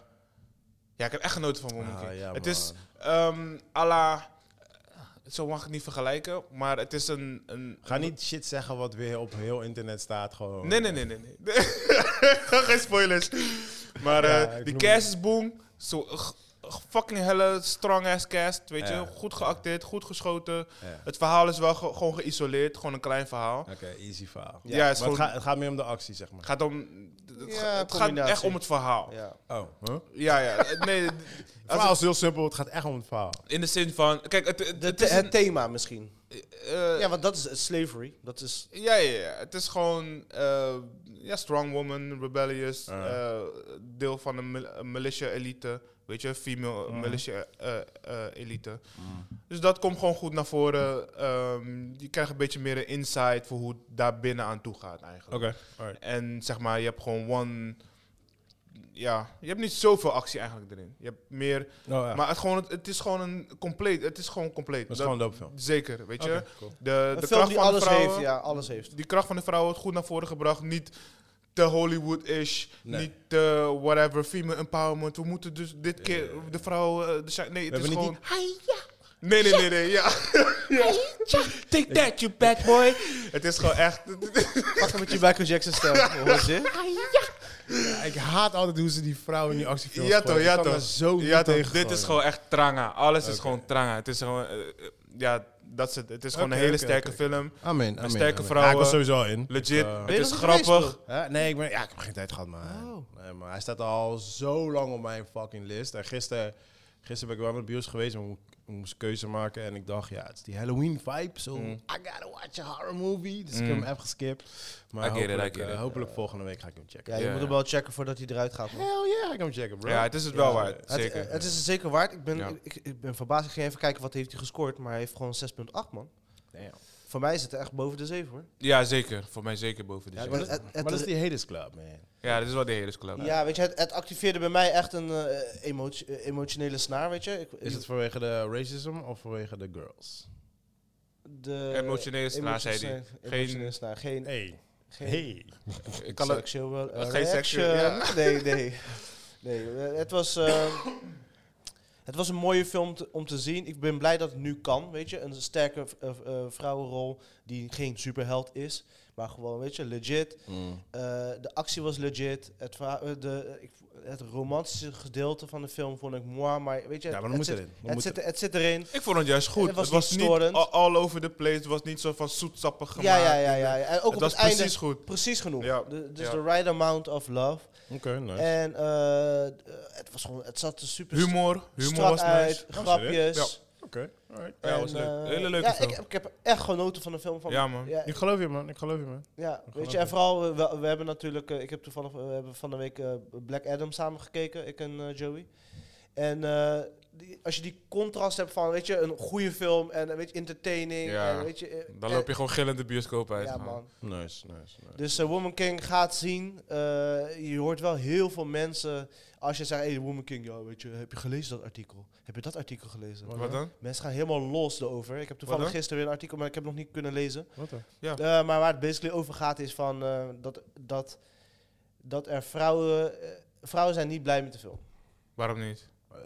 Speaker 1: Ja, ik heb echt genoten van Woman
Speaker 2: Ah,
Speaker 1: King.
Speaker 2: ja,
Speaker 1: het is
Speaker 2: man.
Speaker 1: ehm à la... Zo mag ik het niet vergelijken, maar het is een... een
Speaker 2: Ga niet shit zeggen wat weer op heel internet staat. Gewoon.
Speaker 1: Nee, nee, nee, nee. nee. Geen spoilers. Maar eh,
Speaker 2: Ja, ik
Speaker 1: die
Speaker 2: noem-
Speaker 1: cast is boom. Zo, g- g- fucking helle, strong ass cast. Weet
Speaker 2: Ja.
Speaker 1: je, goed geacteerd, goed geschoten.
Speaker 2: Ja.
Speaker 1: Het verhaal is wel ge- gewoon geïsoleerd, gewoon een klein verhaal.
Speaker 2: Oké, easy verhaal.
Speaker 1: Ja, het is
Speaker 2: Maar het,
Speaker 1: gewoon-
Speaker 2: gaat, het gaat meer om de actie, zeg
Speaker 1: Het
Speaker 2: maar.
Speaker 1: gaat, om, het
Speaker 3: Ja,
Speaker 1: ga- het gaat
Speaker 3: combinatie.
Speaker 1: echt om het verhaal.
Speaker 3: Ja.
Speaker 2: Oh, huh? Het
Speaker 1: Ja, ja. eh, Nee, d-
Speaker 2: verhaal is heel simpel, het gaat echt om het verhaal.
Speaker 1: in de zin van. Kijk, het, het,
Speaker 3: De
Speaker 1: het
Speaker 3: the-
Speaker 1: is.
Speaker 3: het
Speaker 1: een-
Speaker 3: thema misschien.
Speaker 1: eh,
Speaker 3: Ja, want dat is eh, slavery. Dat is
Speaker 1: Ja, ja, ja. Het is gewoon eh, ja, strong woman, rebellious,
Speaker 2: Ah.
Speaker 1: eh, deel van een mil- een militia elite. Weet je, female militia eh, eh, elite. Dus dat komt gewoon goed naar voren. Ehm, je krijgt een beetje meer een insight voor hoe het daar binnen aan toe gaat eigenlijk.
Speaker 2: alright.
Speaker 1: En zeg maar, je hebt gewoon one... Ja, je hebt niet zoveel actie eigenlijk erin. Je hebt meer...
Speaker 2: Nou ja,
Speaker 1: Maar het, gewoon, het is gewoon een compleet... Het is gewoon compleet.
Speaker 2: dat is
Speaker 1: Dat-
Speaker 2: gewoon een dope film.
Speaker 1: Zeker, weet je.
Speaker 2: Oké, cool.
Speaker 1: De,
Speaker 3: een
Speaker 1: de
Speaker 3: film
Speaker 1: kracht
Speaker 3: die
Speaker 1: van de
Speaker 3: alles
Speaker 1: vrouwen
Speaker 3: heeft. Ja, alles heeft.
Speaker 1: die kracht van de vrouwen wordt goed naar voren gebracht. Niet te Hollywood-ish,
Speaker 2: Nee.
Speaker 1: niet te whatever, female empowerment. We moeten dus dit keer de vrouwen... eh, de, shi- nee, het
Speaker 2: hebben
Speaker 1: is
Speaker 2: niet
Speaker 1: gewoon... Nee, nee, nee, nee, ja. Take that, you bad boy. het is gewoon echt...
Speaker 3: Pak hem met je Michael Jackson stem. Hoor je?
Speaker 2: Ja, ik haat altijd hoe ze die vrouwen in die actiefilms
Speaker 1: Ja
Speaker 2: gooien.
Speaker 1: toch,
Speaker 2: Ik
Speaker 1: ja
Speaker 2: kan
Speaker 1: toch.
Speaker 2: daar zo niet
Speaker 1: ja, toch.
Speaker 2: tegen
Speaker 1: Dit is
Speaker 2: gewoon.
Speaker 1: gewoon echt tranga. Alles is
Speaker 2: Oké.
Speaker 1: gewoon tranga. Het is gewoon... eh, eh, ja, dat is het. Het is gewoon
Speaker 2: Oké,
Speaker 1: een hele
Speaker 2: oké,
Speaker 1: sterke
Speaker 2: oké.
Speaker 1: film.
Speaker 2: Amen, amen,
Speaker 1: sterke
Speaker 2: amen.
Speaker 1: vrouwen.
Speaker 2: Ja, ik was sowieso al in.
Speaker 1: Legit.
Speaker 2: Eh,
Speaker 1: het
Speaker 3: je
Speaker 1: is
Speaker 3: nog niet geweest,
Speaker 1: grappig.
Speaker 2: Hè? Nee, ik, ben, ja, ik heb geen tijd gehad, maar,
Speaker 3: Oh.
Speaker 2: nee, maar hij staat al zo lang op mijn fucking list. En gisteren, gisteren ben ik wel naar de bios geweest, maar ik moest keuze maken. En ik dacht, ja, het is die Halloween vibe. So,
Speaker 1: Mm.
Speaker 2: I gotta watch a horror movie. Dus ik
Speaker 1: Mm.
Speaker 2: heb hem even geskipt. Maar
Speaker 1: I get it, I
Speaker 2: hopelijk,
Speaker 1: get
Speaker 2: eh,
Speaker 1: it.
Speaker 2: hopelijk volgende week ga ik hem checken.
Speaker 3: Ja, je
Speaker 1: Ja,
Speaker 3: moet
Speaker 1: ja.
Speaker 3: hem wel checken voordat hij eruit gaat. man.
Speaker 2: Hell yeah, ga ik hem checken, bro.
Speaker 1: Ja, het is het wel
Speaker 2: Ja.
Speaker 1: waard.
Speaker 3: Het,
Speaker 1: Zeker.
Speaker 3: eh, het is het zeker waard. Ik ben,
Speaker 1: Ja.
Speaker 3: ik, ik ben verbaasd. Ik ging even kijken wat heeft hij gescoord. Maar hij heeft gewoon 6,8 man.
Speaker 2: Damn.
Speaker 3: Voor mij is het echt boven de 7 hoor.
Speaker 1: Ja, zeker. Voor mij zeker boven de
Speaker 3: Ja,
Speaker 1: zeven.
Speaker 2: Maar
Speaker 3: Het-
Speaker 2: dat,
Speaker 3: het- het-
Speaker 2: maar dat is die Haters Club, man.
Speaker 1: Ja, dit is wel de hele club.
Speaker 3: Ja, weet je, het, het activeerde bij mij echt een eh, emotio- eh, emotionele snaar, weet je. Ik,
Speaker 2: Is het vanwege de racism of vanwege de girls?
Speaker 3: de
Speaker 1: Emotionele snaar, zei die.
Speaker 3: Geen,
Speaker 1: Geen-
Speaker 3: emotionele snaar, geen,
Speaker 2: Hey.
Speaker 3: geen
Speaker 2: Hey.
Speaker 1: Ik kan het.
Speaker 3: sexual
Speaker 1: geen
Speaker 3: reaction.
Speaker 1: sexual, ja.
Speaker 3: Nee, nee. Nee, eh, het was... eh, Het was een mooie film te- om te zien. Ik ben blij dat het nu kan, weet je. Een sterke v- eh, v- eh, vrouwenrol die geen superheld is. Maar gewoon, weet je, legit. Eh, de actie was legit. Het, verha- eh, de, ik, het romantische gedeelte van de film vond ik mooi. Maar weet je,
Speaker 2: Ja, maar dan
Speaker 3: het,
Speaker 2: moet
Speaker 3: zit,
Speaker 2: erin. Dan
Speaker 3: het,
Speaker 2: moet
Speaker 3: zit, het zit erin.
Speaker 1: Ik vond het juist goed. Het
Speaker 3: Het was
Speaker 1: was,
Speaker 3: niet
Speaker 1: niet
Speaker 3: storend.
Speaker 1: a- all over the place. Het was niet zo van zoetsappig
Speaker 3: Ja,
Speaker 1: gemaakt. eh,
Speaker 3: ja, ja, ja. ja. En ook
Speaker 1: het
Speaker 3: op
Speaker 1: was
Speaker 3: het einde
Speaker 1: precies goed.
Speaker 3: precies genoeg.
Speaker 1: Ja,
Speaker 3: De- dus
Speaker 1: ja.
Speaker 3: de right amount of love.
Speaker 2: Oké, nice.
Speaker 3: En eh, eh, het, was gewoon, het zat er super st-
Speaker 1: Humor. Humor
Speaker 3: strak
Speaker 1: was
Speaker 3: uit,
Speaker 1: nice.
Speaker 3: grapjes.
Speaker 1: Ja.
Speaker 2: Oké, alright.
Speaker 1: Ja, was
Speaker 3: Eh, En,
Speaker 1: leuk.
Speaker 3: eh,
Speaker 1: Hele leuke
Speaker 3: ja,
Speaker 1: film.
Speaker 3: Ik, ik heb echt genoten van de film. Van,
Speaker 1: Ja, man.
Speaker 3: Ja,
Speaker 2: Ik geloof je, man. Ik geloof je, man.
Speaker 3: ja, weet
Speaker 2: geloof
Speaker 3: je, en
Speaker 2: ik.
Speaker 3: vooral, eh, we, we hebben natuurlijk, eh, ik heb toevallig, eh, we hebben van de week eh, Black Adam samen gekeken, ik en eh, Joey. En eh, die- als je die contrast hebt van, weet je, een goede film en eh, weet je, entertaining.
Speaker 1: Ja.
Speaker 3: En, weet je, eh,
Speaker 1: Dan
Speaker 3: en-
Speaker 1: loop je gewoon gillend de bioscoop uit.
Speaker 3: Ja,
Speaker 1: man.
Speaker 3: man.
Speaker 2: Nice, nice, nice.
Speaker 3: Dus eh, Woman King gaat zien. eh, je hoort wel heel veel mensen. Als je zegt, hey, Woman King, ja, weet je, heb je gelezen dat artikel? Heb je dat artikel gelezen?
Speaker 2: Wat?
Speaker 1: Wat dan?
Speaker 3: Mensen gaan helemaal los erover. Ik heb toevallig
Speaker 1: dan?
Speaker 3: gisteren weer een artikel, maar ik heb het nog niet kunnen lezen.
Speaker 2: Wat dan?
Speaker 3: Eh, maar waar het basically over gaat is van eh, dat, dat, dat er vrouwen. eh, vrouwen zijn niet blij met de film.
Speaker 1: Waarom niet?
Speaker 2: Eh,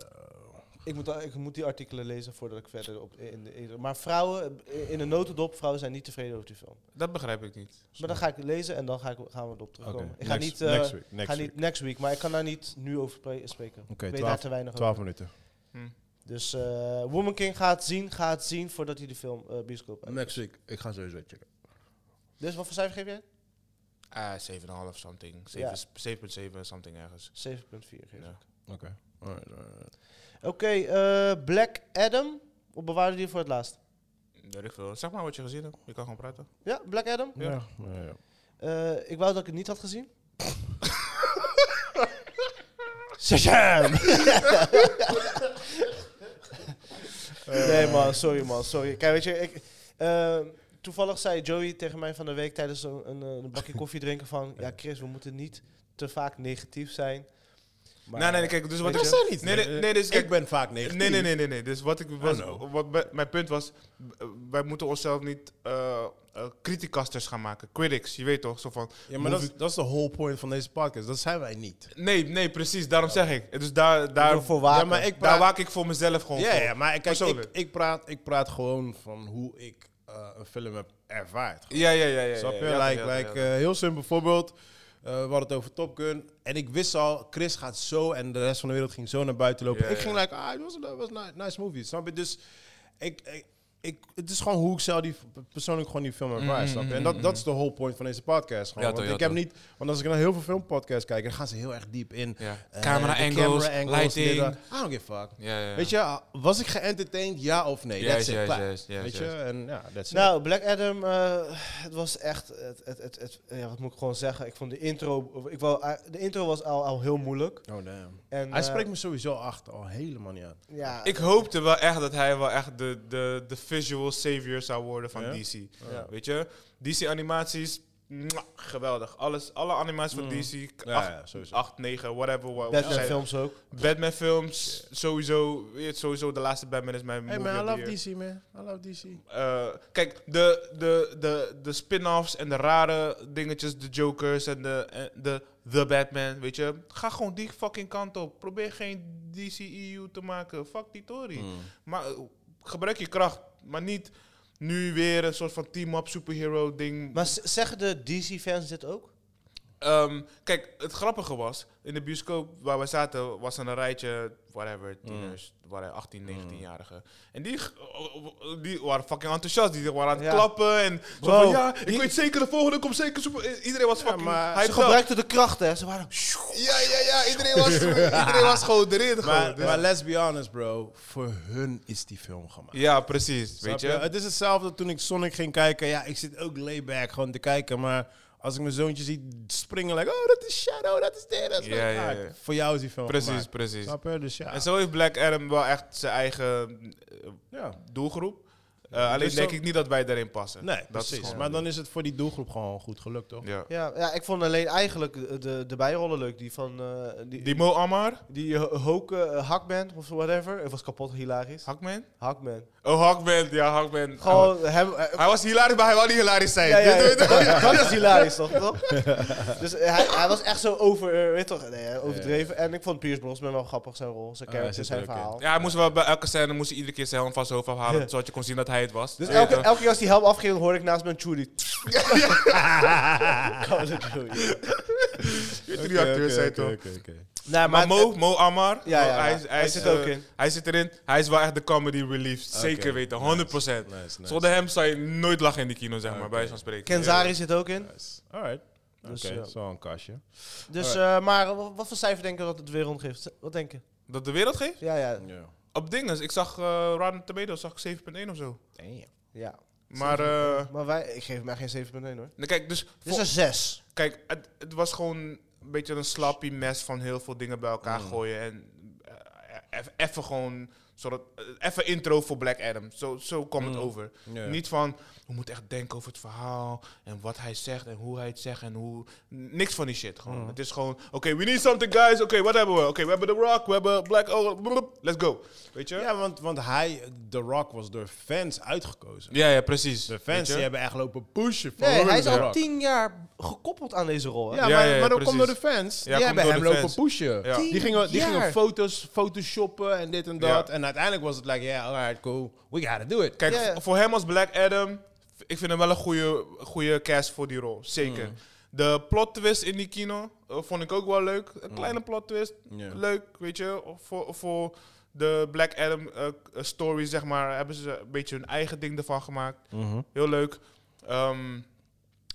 Speaker 3: Ik moet, al- ik moet die artikelen lezen voordat ik verder op. In de, in de- maar vrouwen, eh, in de notendop, vrouwen zijn niet tevreden over die film.
Speaker 1: Dat begrijp ik niet.
Speaker 3: Maar dan ga ik lezen en dan ga ik, gaan we erop terugkomen. Ik ga
Speaker 2: next,
Speaker 3: niet. eh,
Speaker 2: next week, next
Speaker 3: ga
Speaker 2: week.
Speaker 3: niet next week, maar ik kan daar niet nu over pre- spreken.
Speaker 2: Oké,
Speaker 3: ik weet
Speaker 2: 12
Speaker 3: daar te weinig over.
Speaker 2: 12 minuten.
Speaker 1: Hm.
Speaker 3: Dus eh, Woman King gaat zien, gaat zien voordat hij de film eh bioscoop uit.
Speaker 2: Next week. Ik ga sowieso checken.
Speaker 3: Dus wat voor cijfer geef jij?
Speaker 1: Ah, 7,5 something.
Speaker 3: Ja.
Speaker 1: 7 7,7 something ergens.
Speaker 3: 7,4 geef ik.
Speaker 1: Ja.
Speaker 2: Oké. Alright, alright.
Speaker 3: Oké, eh, Black Adam. Of bewaarde die voor het laatst?
Speaker 1: Weet ik veel. Zeg maar wat je gezien hebt. Je kan gewoon praten.
Speaker 3: Ja, Black Adam.
Speaker 2: Ja. Ja, ja, ja.
Speaker 3: Eh, ik wou dat ik het niet had gezien. Nee man, sorry man, sorry. Kijk, weet je, ik, eh, toevallig zei Joey tegen mij van de week tijdens een, een, eh, een bakje koffie drinken van... Ja Chris, we moeten niet te vaak negatief zijn.
Speaker 2: Maar,
Speaker 1: nee, nee, kijk, dus wat
Speaker 2: weet
Speaker 1: ik...
Speaker 2: je? Dat is er niet.
Speaker 1: Nee, nee, nee, dus
Speaker 2: ik
Speaker 1: kijk,
Speaker 2: ben vaak negatief.
Speaker 1: Nee, nee, nee, nee, nee. Dus wat ik was,
Speaker 2: I know.
Speaker 1: wat bij- mijn punt was, eh, wij moeten onszelf niet eh eh, criticasters gaan maken. Critics, je weet toch? Zo van,
Speaker 2: Ja, maar dat is, dat is de whole point van deze podcast. Dat zijn wij niet.
Speaker 1: nee, nee, precies, daarom zeg ik. Dus daar, daar,
Speaker 3: wil voor waken.
Speaker 1: Ja, maar ik
Speaker 2: praat-
Speaker 1: daar waak ik voor mezelf gewoon
Speaker 2: Ja,
Speaker 1: voor.
Speaker 2: ja, maar kijk, ik,
Speaker 1: Persoonlijk.
Speaker 2: ik, praat, ik praat gewoon van hoe ik eh, een film heb ervaard.
Speaker 1: Ja, ja, ja. ja,
Speaker 2: Snap je?
Speaker 1: ja, ja,
Speaker 2: like,
Speaker 1: ja, ja,
Speaker 2: like,
Speaker 1: ja.
Speaker 2: eh, heel simpel voorbeeld. Eh, we hadden het over Top Gun. En ik wist al, Chris gaat zo en de rest van de wereld ging zo naar buiten lopen.
Speaker 1: Ja,
Speaker 2: ik
Speaker 1: ja.
Speaker 2: ging like, ah, het was een was een nice, nice movie. Snap je? Dus ik, ik, ik, het is gewoon hoe ik zelf die, persoonlijk gewoon die film ervaar.
Speaker 1: Mm,
Speaker 2: snap je?
Speaker 1: mm,
Speaker 2: En dat,
Speaker 1: mm,
Speaker 2: dat is de whole point van deze podcast. Gewoon.
Speaker 4: Ja,
Speaker 2: want
Speaker 4: toch, ja,
Speaker 2: ik heb
Speaker 4: toch.
Speaker 2: niet, want als ik naar heel veel filmpodcasts kijk, dan gaan ze heel erg diep in.
Speaker 4: Ja.
Speaker 2: eh,
Speaker 4: Camera
Speaker 2: de
Speaker 4: angles,
Speaker 2: dit,
Speaker 4: lighting.
Speaker 2: dat. I don't give a fuck.
Speaker 4: Ja, ja.
Speaker 2: Weet je, was ik geëntertained? Ja of nee?
Speaker 4: Yes,
Speaker 2: that's it.
Speaker 4: yes,
Speaker 2: klaar.
Speaker 4: yes, yes,
Speaker 2: Weet je?
Speaker 4: yes.
Speaker 2: En ja, that's it.
Speaker 3: Nou, Black Adam, eh, het was echt, het, het, het, het- ja, wat moet ik gewoon zeggen? Ik vond de intro, ik wou, eh, de intro was al, al heel moeilijk.
Speaker 2: Oh, damn.
Speaker 3: En,
Speaker 2: Hij
Speaker 3: eh,
Speaker 2: spreekt me sowieso achter, al helemaal niet aan.
Speaker 3: Ja,
Speaker 1: Ik hoopte wel echt dat hij wel echt de, de, de visual savior zou worden van
Speaker 2: Ja?
Speaker 1: DC.
Speaker 3: ja.
Speaker 1: Weet je, DC-animaties, mwah, geweldig. Alles, alle animaties van
Speaker 2: Mm.
Speaker 1: DC,
Speaker 2: Ja, ja, sowieso.
Speaker 1: 8, 9, whatever. wa-
Speaker 3: Batman
Speaker 1: zij-
Speaker 3: films ook.
Speaker 1: Batman films, sowieso, weet je, sowieso de laatste Batman is mijn
Speaker 2: Hey
Speaker 1: movie
Speaker 2: man, I
Speaker 1: of the
Speaker 2: love
Speaker 1: year.
Speaker 2: DC, man. I love DC.
Speaker 1: Eh, kijk, de, de, de, de spin-offs en de rare dingetjes, de Jokers en de, en de, de Batman, weet je. Ga gewoon die fucking kant op. Probeer geen DCEU te maken. Fuck die
Speaker 2: Mm.
Speaker 1: Tory. Maar eh, gebruik je kracht, maar niet nu weer een soort van team-up superhero ding.
Speaker 3: Maar z- zeggen de DC-fans dit ook?
Speaker 1: Ehm, kijk, het grappige was, in de bioscoop waar we zaten, was er een rijtje, whatever,
Speaker 2: Mm.
Speaker 1: tieners, waren 18, 19-jarigen. En die, g- oh, die waren fucking enthousiast, die waren aan het
Speaker 3: Ja.
Speaker 1: klappen en zo
Speaker 3: Wow,
Speaker 1: van, ja, ik
Speaker 3: die-
Speaker 1: weet zeker, de volgende komt zeker super... eh, Iedereen was fucking...
Speaker 2: maar
Speaker 1: hyped
Speaker 3: Ze
Speaker 1: up.
Speaker 3: gebruikten de krachten, hè? Ze waren...
Speaker 1: Ja, ja, ja, iedereen was, iedereen was gewoon erin. gewoon,
Speaker 2: Maar,
Speaker 1: dus-
Speaker 2: maar let's be honest, bro. Voor hun is die film gemaakt.
Speaker 1: ja, precies,
Speaker 2: Snap
Speaker 1: weet je.
Speaker 2: je? Het is hetzelfde toen ik Sonic ging kijken. Ja, ik zit ook layback gewoon te kijken. Maar als ik mijn zoontje zie springen, like, oh, dat is Shadow, dat is dit, dat is
Speaker 1: Ja,
Speaker 2: dat.
Speaker 1: ja,
Speaker 2: Ah,
Speaker 1: ja.
Speaker 2: Voor jou is die film
Speaker 1: Precies,
Speaker 2: gemaakt.
Speaker 1: precies.
Speaker 2: Snap je? Dus ja.
Speaker 1: En zo heeft Black Adam wel echt zijn eigen eh,
Speaker 2: ja.
Speaker 1: doelgroep. Eh, alleen
Speaker 2: Dus
Speaker 1: denk
Speaker 2: zo-
Speaker 1: ik niet dat wij daarin passen.
Speaker 2: Nee,
Speaker 1: Dat is
Speaker 2: precies.
Speaker 1: gewoon-
Speaker 2: Maar dan is het voor die doelgroep gewoon goed gelukt, toch?
Speaker 1: Ja.
Speaker 3: Ja, ja, ik vond alleen eigenlijk de- de, de bijrollen leuk. Die van... eh, die,
Speaker 1: Die
Speaker 3: die,
Speaker 1: Mo Ammar,
Speaker 3: ho- hoke eh, Hakman of whatever. Het was kapot hilarisch.
Speaker 1: Hakman?
Speaker 3: Hakman.
Speaker 1: Oh, Hakman. Ja, Hakman. Oh.
Speaker 3: Gewoon hem... eh,
Speaker 1: Hij was hilarisch, maar hij wou niet hilarisch zijn.
Speaker 3: ja, ja,
Speaker 1: Dit-
Speaker 3: ja,
Speaker 1: dit-
Speaker 3: dat, dat is hilarisch, toch? toch? dus eh, hij, hij was echt zo over, eh, weet toch, nee, overdreven. En ik vond Piers Brosnan wel grappig, zijn rol, zijn
Speaker 2: Ah, hij
Speaker 3: character,
Speaker 2: zit er
Speaker 3: zijn
Speaker 2: ook in.
Speaker 3: verhaal.
Speaker 1: Ja, hij moest wel bij elke scène moest hij iedere keer zijn helm van zijn hoofd afhalen,
Speaker 3: Ja.
Speaker 1: zodat je kon zien dat hij het was.
Speaker 3: Dus
Speaker 1: Ja,
Speaker 3: elke,
Speaker 1: toch?
Speaker 3: elke keer als die helm afging, dan hoorde ik naast mijn Judy. Kan het doen, joh.
Speaker 1: Die
Speaker 2: Oké,
Speaker 1: drie acteurs
Speaker 2: oké,
Speaker 1: zijn
Speaker 2: oké,
Speaker 1: toch.
Speaker 2: oké, oké.
Speaker 3: Nee,
Speaker 1: Maar
Speaker 3: maar
Speaker 1: Mo, Mo Ammar,
Speaker 3: Ja, ja,
Speaker 1: Mo-
Speaker 3: ja.
Speaker 1: Hij, is- hij
Speaker 3: Hij
Speaker 1: is,
Speaker 3: zit er ook
Speaker 1: eh,
Speaker 3: in.
Speaker 1: hij zit erin. Hij is wel echt de comedy relief,
Speaker 2: Oké,
Speaker 1: zeker weten, 100%.
Speaker 2: Nice, nice.
Speaker 1: Zonder hem zou je nooit lachen in de kino, zeg maar,
Speaker 2: Oké.
Speaker 1: bij wijze van spreken.
Speaker 3: Kenzari zit ook in.
Speaker 2: Nice. Alright.
Speaker 3: Dus,
Speaker 2: Oké,
Speaker 3: ja.
Speaker 2: zo een kastje.
Speaker 3: Dus, eh, maar eh, wat voor cijfer denken we dat het weer rondgeeft? Wat denk je?
Speaker 1: Dat de wereld geeft?
Speaker 3: Ja, ja.
Speaker 2: Ja.
Speaker 1: Op dingen. Ik zag eh Rotten Tomatoes zag ik 7.1 of zo.
Speaker 3: ja.
Speaker 1: Maar, eh,
Speaker 3: Maar wij, ik geef mij geen 7.1 hoor.
Speaker 1: nou kijk, dus...
Speaker 3: Dit is een 6.
Speaker 1: Kijk, het, het was gewoon een beetje een slappy mes van heel veel dingen bij elkaar
Speaker 2: Mm.
Speaker 1: gooien. En eh, eff- even gewoon, zodat, eh, even intro voor Black Adam. Zo, zo kwam het over.
Speaker 2: Mm. Ja.
Speaker 1: Niet van, we moeten echt denken over het verhaal en wat hij zegt en hoe hij het zegt en hoe... n- Niks van die shit gewoon.
Speaker 2: Mm.
Speaker 1: Het is gewoon, oké, we need something guys. Oké, wat hebben we? Oké, we hebben The Rock, we hebben Black... Oh, blub, let's go. Weet je? Ja,
Speaker 2: Ja, want, want hij, The Rock, was door fans uitgekozen.
Speaker 1: ja, precies.
Speaker 2: De
Speaker 1: Weet
Speaker 2: fans
Speaker 1: je?
Speaker 2: die hebben echt lopen pushen. Van
Speaker 3: Nee,
Speaker 2: we
Speaker 3: hij
Speaker 2: willen
Speaker 3: is
Speaker 2: The
Speaker 3: al
Speaker 2: Rock.
Speaker 3: 10 jaar gekoppeld aan deze rol. Hè?
Speaker 2: Ja,
Speaker 1: Ja,
Speaker 2: maar,
Speaker 1: ja, ja,
Speaker 2: maar dat komt door de
Speaker 1: precies.
Speaker 2: fans.
Speaker 1: Ja,
Speaker 2: die
Speaker 1: komt
Speaker 2: hebben
Speaker 1: door
Speaker 2: hem
Speaker 1: de
Speaker 2: lopen
Speaker 1: fans.
Speaker 2: pushen.
Speaker 1: Ja.
Speaker 2: Die
Speaker 3: Tien
Speaker 2: gingen, die gingen
Speaker 3: jaar.
Speaker 2: foto's, photoshoppen en dit en dat.
Speaker 1: Ja.
Speaker 2: En uiteindelijk was het like, yeah, alright, cool. We gotta do it.
Speaker 1: Kijk,
Speaker 3: Ja, ja.
Speaker 1: v- voor hem als Black Adam, v- ik vind hem wel een goede, goede cast voor die rol. Zeker. De plot twist in die kino eh, vond ik ook wel leuk. Een kleine plot twist.
Speaker 2: Ja.
Speaker 1: Leuk, weet je. Voor, voor de Black Adam eh, k- eh, story, zeg maar, hebben ze een beetje hun eigen ding ervan gemaakt. Heel leuk. Ehm,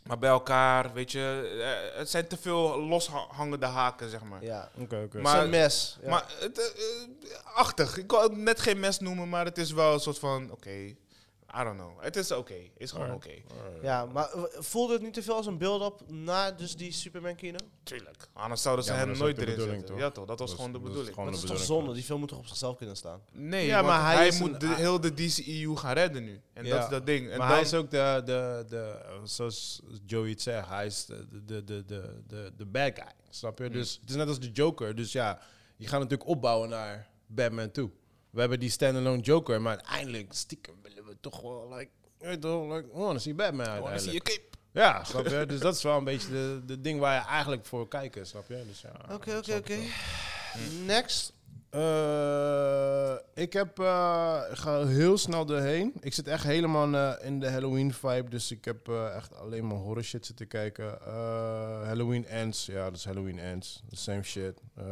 Speaker 1: maar bij elkaar, weet je, eh, het zijn te veel loshangende haken, zeg maar.
Speaker 3: Ja.
Speaker 2: Oké, oké.
Speaker 1: Maar-
Speaker 3: Zijn mes. Ja.
Speaker 1: Maar het, eh, eh, achtig. Ik kan het net geen mes noemen, maar het is wel een soort van, oké, I don't know. Het is oké. Het is gewoon oké.
Speaker 3: Ja, maar eh, voelde het niet te veel als een build-up na dus die Superman kino?
Speaker 1: Tuurlijk. Anders zouden ze
Speaker 2: Ja, maar
Speaker 1: hem
Speaker 2: dat is ook
Speaker 1: nooit erin
Speaker 2: de bedoeling,
Speaker 1: zetten.
Speaker 2: toch?
Speaker 1: Ja toch, dat was
Speaker 2: Dat is-
Speaker 1: gewoon de
Speaker 2: dat is
Speaker 1: bedoeling.
Speaker 2: gewoon
Speaker 3: Dat is
Speaker 2: de
Speaker 3: toch
Speaker 2: bedoeling.
Speaker 3: zonde? Die film moet toch op zichzelf kunnen staan?
Speaker 1: Nee,
Speaker 2: Ja,
Speaker 1: maar
Speaker 2: maar hij
Speaker 1: hij,
Speaker 2: is
Speaker 1: moet
Speaker 2: een-
Speaker 1: de, heel de DCEU gaan redden nu. En
Speaker 2: Ja.
Speaker 1: dat is dat ding. En
Speaker 2: maar
Speaker 1: dan-
Speaker 2: hij is ook de, de, de, zoals Joey het
Speaker 1: Mm.
Speaker 2: zegt, hij is de, de, de, de, de, de bad guy. Snap je? Dus het is net als de Joker. Dus ja, je gaat natuurlijk opbouwen naar Batman toe. We hebben die standalone Joker, maar uiteindelijk stiekem willen we toch wel, like, je weet toch, like, oh, dan zie je Batman
Speaker 1: dan zie
Speaker 2: uiteindelijk.
Speaker 1: je kip.
Speaker 2: Ja, snap je? Dus dat is wel een beetje de, de ding waar je eigenlijk voor kijkt, snap je? Dus ja,
Speaker 3: Oké,
Speaker 2: ik
Speaker 3: oké,
Speaker 2: snap het
Speaker 3: oké.
Speaker 2: wel.
Speaker 3: Hm. Next.
Speaker 2: Eh, ik heb, eh, ik ga heel snel doorheen. Ik zit echt helemaal eh, in de Halloween vibe, dus ik heb eh, echt alleen maar horror shit zitten kijken. Eh, Halloween Ends, ja, dat is Halloween Ends. Same shit. Eh,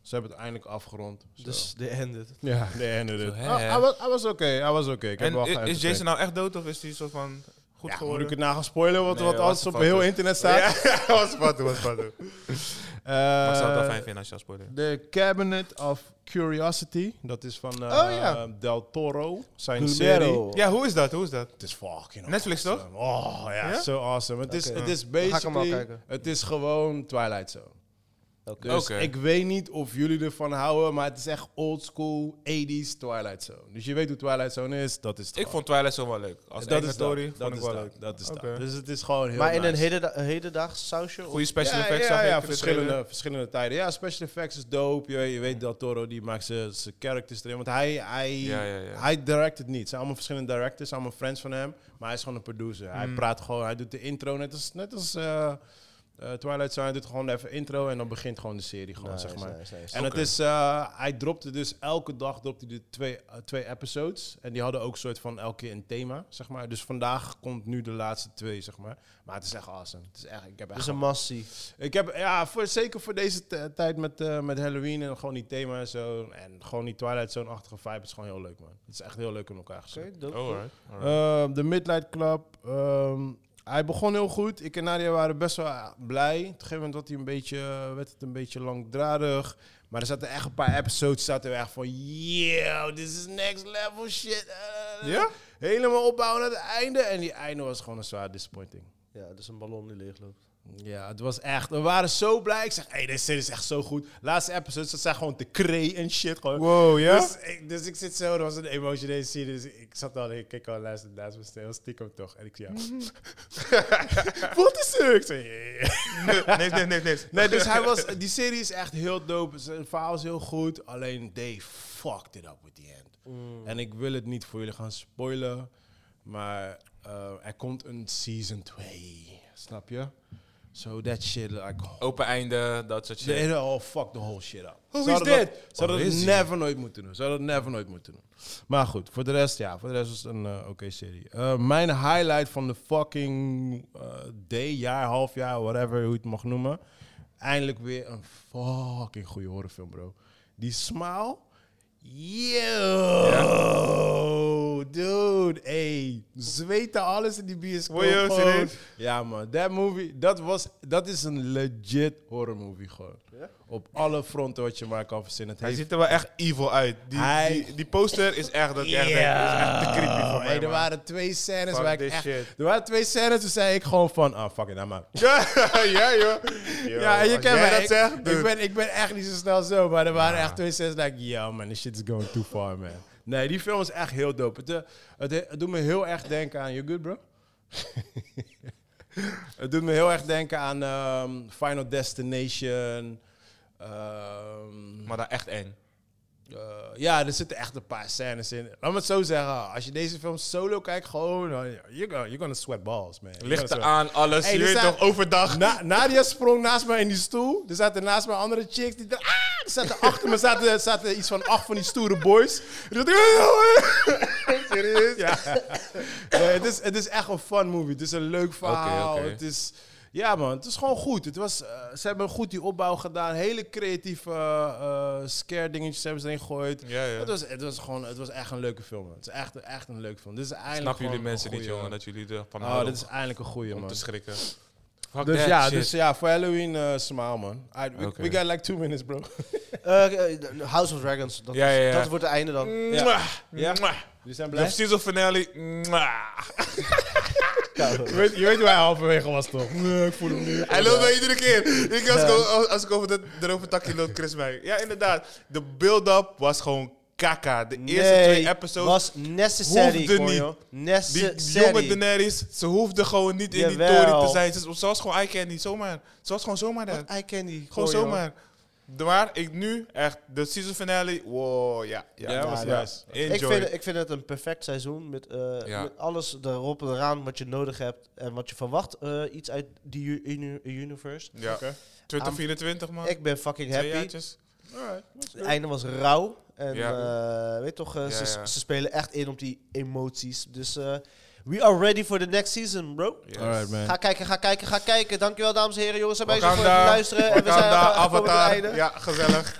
Speaker 2: ze hebben het eindelijk afgerond. zo.
Speaker 3: Dus de ended.
Speaker 2: ja, de ene dit.
Speaker 1: Zo, hè,
Speaker 2: Ah,
Speaker 1: hè.
Speaker 2: Hij was- hij was oké, hij was oké. Ik heb
Speaker 1: En
Speaker 2: wel
Speaker 1: i- is
Speaker 2: geëntertained.
Speaker 1: Jason nou echt dood of is hij soort van goed
Speaker 2: Ja, moet
Speaker 1: geworden?
Speaker 2: ik het nou gaan spoilen, wat,
Speaker 1: Nee,
Speaker 2: wat
Speaker 1: was
Speaker 2: alles
Speaker 1: een
Speaker 2: op heel
Speaker 1: fout.
Speaker 2: internet staat?
Speaker 1: Ja, was wat, was wat. Maar
Speaker 2: Eh,
Speaker 1: ik zou het wel fijn vinden als je dat spoiler.
Speaker 2: De Cabinet of Curiosity, dat is van eh,
Speaker 1: Oh, ja.
Speaker 2: Del Toro, zijn serie.
Speaker 3: Numero.
Speaker 1: Ja, hoe is dat? Hoe is dat?
Speaker 2: Het is fucking
Speaker 1: Netflix
Speaker 2: awesome.
Speaker 1: toch?
Speaker 2: Oh ja,
Speaker 1: Ja?
Speaker 2: zo awesome. Het is,
Speaker 3: Oké.
Speaker 2: het is
Speaker 3: hem wel
Speaker 2: basically,
Speaker 3: kijken.
Speaker 2: het is gewoon Twilight Zone.
Speaker 3: Oké.
Speaker 2: Dus
Speaker 1: Oké.
Speaker 2: ik weet niet of jullie ervan houden, maar het is echt old school 80s Twilight Zone. Dus je weet hoe Twilight Zone is, dat is het
Speaker 1: Ik
Speaker 2: gewoon.
Speaker 1: vond Twilight zo wel leuk. Als
Speaker 2: dat is
Speaker 1: story
Speaker 2: dat, dat is
Speaker 1: ik wel
Speaker 2: dat,
Speaker 1: leuk.
Speaker 2: dat is dat.
Speaker 1: Oké.
Speaker 2: Dus het is gewoon heel
Speaker 3: Maar in
Speaker 2: nice.
Speaker 3: een hedenda- hedendaags sausje? of-
Speaker 1: Goede special
Speaker 2: ja,
Speaker 1: effects
Speaker 2: ja,
Speaker 1: zag
Speaker 2: ja,
Speaker 1: ik in de trailer.
Speaker 2: verschillende, verschillende tijden. Ja, special effects is dope. Je, je weet Del Toro, die maakt zijn zijn characters erin. Want hij, hij,
Speaker 1: Ja, ja, ja.
Speaker 2: hij direct het niet. Het zijn allemaal verschillende directors, allemaal friends van hem. Maar hij is gewoon een producer. Hij
Speaker 3: Mm.
Speaker 2: praat gewoon, hij doet de intro net als, net als eh, eh, Twilight Zone. Hij doet gewoon even intro en dan begint gewoon de serie gewoon,
Speaker 3: Nice,
Speaker 2: zeg maar.
Speaker 3: nice, nice.
Speaker 2: En
Speaker 1: Oké.
Speaker 2: het is, eh, hij dropte dus elke dag dropte hij de twee, eh, twee episodes. En die hadden ook soort van elke keer een thema, zeg maar. Dus vandaag komt nu de laatste twee, zeg maar. Maar het is echt awesome. Het is echt, ik heb echt
Speaker 3: Dus een massie.
Speaker 2: ik heb, ja, voor, zeker voor deze t- tijd met, eh, met Halloween en gewoon die thema en zo. En gewoon die Twilight Zone-achtige vibe is gewoon heel leuk, man. Het is echt heel leuk in elkaar gezet.
Speaker 3: Oké, dope.
Speaker 1: Oh, alright, alright.
Speaker 2: Ehm, de Midnight Club. ehm, hij begon heel goed. Ik en Nadia waren best wel eh, blij. Op een gegeven moment had hij een beetje, eh, werd het een beetje langdradig. Maar er zaten echt een paar episodes zaten we echt van... Yo, this is next level shit. Eh,
Speaker 1: Ja?
Speaker 2: Helemaal opbouwen naar het einde. En die einde was gewoon een zwaar disappointing.
Speaker 3: Ja, dus een ballon die leegloopt.
Speaker 2: Ja, het was echt. We waren zo blij. Ik zeg, hé, hey, deze serie is echt zo goed. Laatste episodes, dat zijn gewoon te kree en shit. Gewoon.
Speaker 1: Wow, ja?
Speaker 2: Dus, ik, dus ik zit zo, er was een emotionele serie. Dus ik zat al, ik keek al naast de naast me stil, stiekem toch. En ik zie ja. Wat is er? Ik zeg, "Ja, ja, ja."
Speaker 1: Nee, nee, nee, nee.
Speaker 2: Nee, dus hij was, die serie is echt heel dope. Zijn verhaal is heel goed. Alleen, they fucked it up with the end. En ik wil het niet voor jullie gaan spoilen. Maar eh, er komt een season 2. Snap je? So that shit, like,
Speaker 1: Open einde, dat soort
Speaker 2: ze
Speaker 1: shit.
Speaker 2: deden al oh, fuck the whole shit up.
Speaker 1: Who
Speaker 2: Ze
Speaker 1: is
Speaker 2: hadden
Speaker 1: that?
Speaker 2: dat- Ze hadden
Speaker 1: Waar
Speaker 2: het
Speaker 1: is
Speaker 2: never nooit moeten doen. Ze hadden het never nooit moeten doen. Maar goed, voor de rest, ja, voor de rest was het een eh, oké serie. Eh, mijn highlight van de fucking eh, day, jaar, half jaar, whatever, hoe je het mag noemen. Eindelijk weer een fucking goede horrorfilm, bro. Die smile. Yo, dude, ey, zweten alles in die bioscoop.
Speaker 1: Word je
Speaker 2: gewoon.
Speaker 1: serieus?
Speaker 2: Ja, man. Dat movie, dat was, dat is een legit horror movie gewoon. Op alle fronten wat je maar kan verzinnen. Het
Speaker 1: Hij
Speaker 2: heeft-
Speaker 1: ziet er wel echt evil uit. Die,
Speaker 2: Hij-
Speaker 1: die, die poster is echt, dat ik echt denk,
Speaker 2: Ja.
Speaker 1: dat is echt te creepy voor
Speaker 2: Hey,
Speaker 1: mij.
Speaker 2: er
Speaker 1: man.
Speaker 2: waren twee scènes
Speaker 1: Fuck
Speaker 2: waar ik
Speaker 1: this
Speaker 2: echt,
Speaker 1: shit.
Speaker 2: er waren twee scènes, toen zei ik gewoon van, ah, fuck it, I'm out.
Speaker 1: Ja, ja, joh. Yo,
Speaker 2: ja, en je
Speaker 1: als
Speaker 2: kent
Speaker 1: jij
Speaker 2: mij.
Speaker 1: dat
Speaker 2: ik,
Speaker 1: zegt,
Speaker 2: ik
Speaker 1: dude.
Speaker 2: ben, ik ben echt niet zo snel zo, maar er waren echt twee scènes dat ik, yo man, this shit is going too far, man. Nee, die film is echt heel dope. Het, eh, het, het doet me heel erg denken aan, you good bro? het doet me heel erg denken aan ehm, Final Destination. ehm,
Speaker 1: Maar dat echt eng.
Speaker 2: eh, ja, er zitten echt een paar scènes in. Laat me het zo zeggen. Als je deze film solo kijkt, gewoon... eh, you're, gonna, you're gonna sweat balls, man. You're gonna
Speaker 1: Lichten
Speaker 2: sweat-
Speaker 1: aan, alles.
Speaker 2: Hey,
Speaker 1: je
Speaker 2: er
Speaker 1: weet
Speaker 2: zijn-
Speaker 1: toch, overdag.
Speaker 2: Na- Nadia sprong naast mij in die stoel. Er zaten naast mij andere chicks. Die dacht, ah, er zaten achter me zaten, zaten iets van acht van die stoere boys. Die dacht, Serieus? Ja. Nee, het, is, het is echt een fun movie. Het is een leuk verhaal.
Speaker 1: Oké, oké.
Speaker 2: Het is, ja man, het is gewoon goed. Het was, eh, ze hebben goed die opbouw gedaan. Hele creatieve eh, eh, scare dingetjes hebben ze erin gegooid.
Speaker 1: Ja, ja.
Speaker 2: Het, was, het, was gewoon, het was echt een leuke film. man. Het is echt, echt een leuke film. Dit is eindelijk
Speaker 1: Snap
Speaker 2: gewoon
Speaker 1: jullie
Speaker 2: een
Speaker 1: mensen niet,
Speaker 2: goeie-
Speaker 1: jongen, dat jullie ervan
Speaker 2: Oh, dit
Speaker 1: houden
Speaker 2: is eindelijk een goeie
Speaker 1: om
Speaker 2: man.
Speaker 1: te schrikken. Fuck
Speaker 2: Dus
Speaker 1: that
Speaker 2: ja,
Speaker 1: shit.
Speaker 2: dus ja, voor Halloween eh smile man. I- we,
Speaker 1: Oké.
Speaker 2: we got like two minutes, bro.
Speaker 3: Eh, eh, de- House of Dragons. Dat,
Speaker 1: Ja, ja, ja.
Speaker 3: dat wordt het einde dan.
Speaker 1: Mwah,
Speaker 2: Ja.
Speaker 1: mwah.
Speaker 2: Jullie zijn
Speaker 1: De
Speaker 2: blij?
Speaker 1: season finale. mwah.
Speaker 2: Je weet, je weet hoe hij halverwege was, toch? Nee, ik voel hem nu.
Speaker 1: Hij loopt mij iedere keer. Ik, als, ik, als, als ik over dat erover takje loop, Chris mij. Ja, inderdaad. De build-up was gewoon kaka. De eerste
Speaker 3: Nee,
Speaker 1: twee episodes.
Speaker 3: was necessary.
Speaker 1: hoefde
Speaker 3: gewoon,
Speaker 1: niet.
Speaker 3: joh.
Speaker 1: die
Speaker 3: Necessary.
Speaker 1: jonge Daenerys, ze hoefde gewoon niet in die
Speaker 3: Jawel.
Speaker 1: toren te zijn. Ze, ze was gewoon I candy, zomaar. Ze was gewoon zomaar daar.
Speaker 3: Eye candy.
Speaker 1: Gewoon zomaar. De- Maar ik nu echt, de season finale, wow, ja. Ja,
Speaker 2: Ja, was
Speaker 1: ja.
Speaker 2: nice.
Speaker 3: Ik
Speaker 1: Enjoy.
Speaker 3: vind, ik vind het een perfect seizoen met, eh,
Speaker 1: Ja.
Speaker 3: met alles erop en eraan wat je nodig hebt en wat je verwacht. eh, iets uit die u- uni- universe.
Speaker 1: ja.
Speaker 2: Oké.
Speaker 1: 2024, man.
Speaker 3: Ik ben fucking
Speaker 1: Twee
Speaker 3: happy.
Speaker 1: jaartjes. Alright, that's
Speaker 3: Het
Speaker 1: good.
Speaker 3: einde was rauw. En
Speaker 1: Ja.
Speaker 3: eh, weet toch, eh,
Speaker 1: Ja,
Speaker 3: ze,
Speaker 1: ja.
Speaker 3: ze spelen echt in op die emoties. Dus eh, we are ready for the next season, bro.
Speaker 1: Yes.
Speaker 2: Alright, man.
Speaker 3: Ga kijken, ga kijken, ga kijken. Dankjewel, dames en heren, jongens en meisjes, voor het
Speaker 1: Wakanda,
Speaker 3: luisteren.
Speaker 2: Oh,
Speaker 3: en we zijn
Speaker 1: Wakanda,
Speaker 3: aangekomen bij het einde.
Speaker 1: nou, Avatar. Ja, gezellig.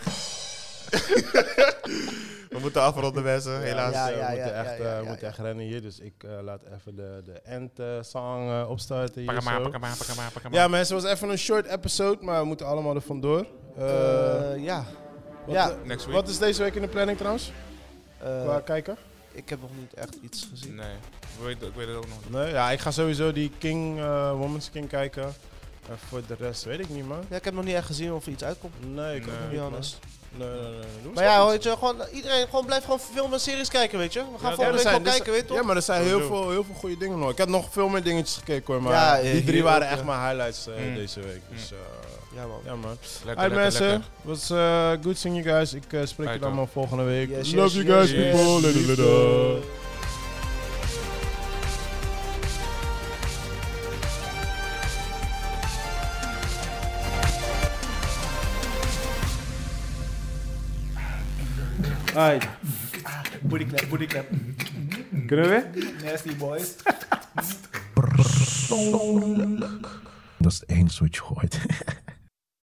Speaker 1: We moeten afronden, mensen, helaas.
Speaker 3: Ja,
Speaker 2: eh,
Speaker 3: ja,
Speaker 2: we
Speaker 3: ja,
Speaker 2: moeten
Speaker 3: ja,
Speaker 2: echt,
Speaker 3: ja,
Speaker 2: eh,
Speaker 3: ja,
Speaker 2: we
Speaker 3: ja,
Speaker 2: moeten
Speaker 3: ja.
Speaker 2: echt rennen hier. Dus ik eh, laat even de, de end-song eh, opstarten hier.
Speaker 1: Pak hem aan,
Speaker 2: zo.
Speaker 1: pak hem aan, pak hem aan, pak hem
Speaker 2: Ja,
Speaker 1: aan.
Speaker 2: mensen, het was even een short episode, maar we moeten allemaal er vandoor. Eh,
Speaker 3: Eh, ja.
Speaker 2: wat,
Speaker 3: ja.
Speaker 2: eh,
Speaker 1: Next week.
Speaker 2: wat is deze week in de planning trouwens?
Speaker 3: Eh,
Speaker 2: Qua kijken?
Speaker 3: ik heb nog niet echt iets gezien.
Speaker 1: Nee, ik weet, ik weet het ook nog niet.
Speaker 2: Nee, ja, ik ga sowieso die King, eh Woman's King kijken. En voor de rest weet ik niet, man.
Speaker 3: Ja, ik heb nog niet echt gezien of er iets uitkomt.
Speaker 2: Nee, ik ook
Speaker 1: Nee.
Speaker 2: niet,
Speaker 3: to be
Speaker 2: man.
Speaker 3: honest.
Speaker 2: Nee, nee, nee. nee. Doe eens
Speaker 3: Maar ja,
Speaker 2: even
Speaker 3: weet
Speaker 2: iets.
Speaker 3: je, gewoon, eh, iedereen gewoon blijf gewoon filmen en series kijken, weet je. We gaan
Speaker 2: Ja,
Speaker 3: volgende
Speaker 2: er
Speaker 3: week
Speaker 2: zijn-
Speaker 3: gewoon
Speaker 2: er
Speaker 3: kijken, weet je toch?
Speaker 2: Ja, maar er zijn heel
Speaker 1: Sowieso.
Speaker 2: veel, heel veel goede dingen nog. Ik had nog veel meer dingetjes gekeken, hoor. Maar
Speaker 3: Ja,
Speaker 2: die
Speaker 3: hier
Speaker 2: drie
Speaker 3: ook,
Speaker 2: waren
Speaker 3: ja.
Speaker 2: echt mijn highlights eh,
Speaker 1: Mm.
Speaker 2: deze week. Dus, eh
Speaker 3: Ja, man.
Speaker 2: ja, man.
Speaker 1: Lekker,
Speaker 2: Hi
Speaker 1: lekker,
Speaker 2: mensen,
Speaker 1: lekker.
Speaker 2: was eh, good seeing you guys. Ik eh, spreek je
Speaker 1: Alright,
Speaker 2: dan
Speaker 1: hoor.
Speaker 2: maar volgende week.
Speaker 3: Yes,
Speaker 2: Love you
Speaker 3: yes, yes,
Speaker 2: guys,
Speaker 1: yes.
Speaker 2: people. Later, later.
Speaker 4: Alright,
Speaker 5: Booty clap, booty clap.
Speaker 4: kunnen we?
Speaker 5: Nasty boys.
Speaker 6: Dat is één switch gooit.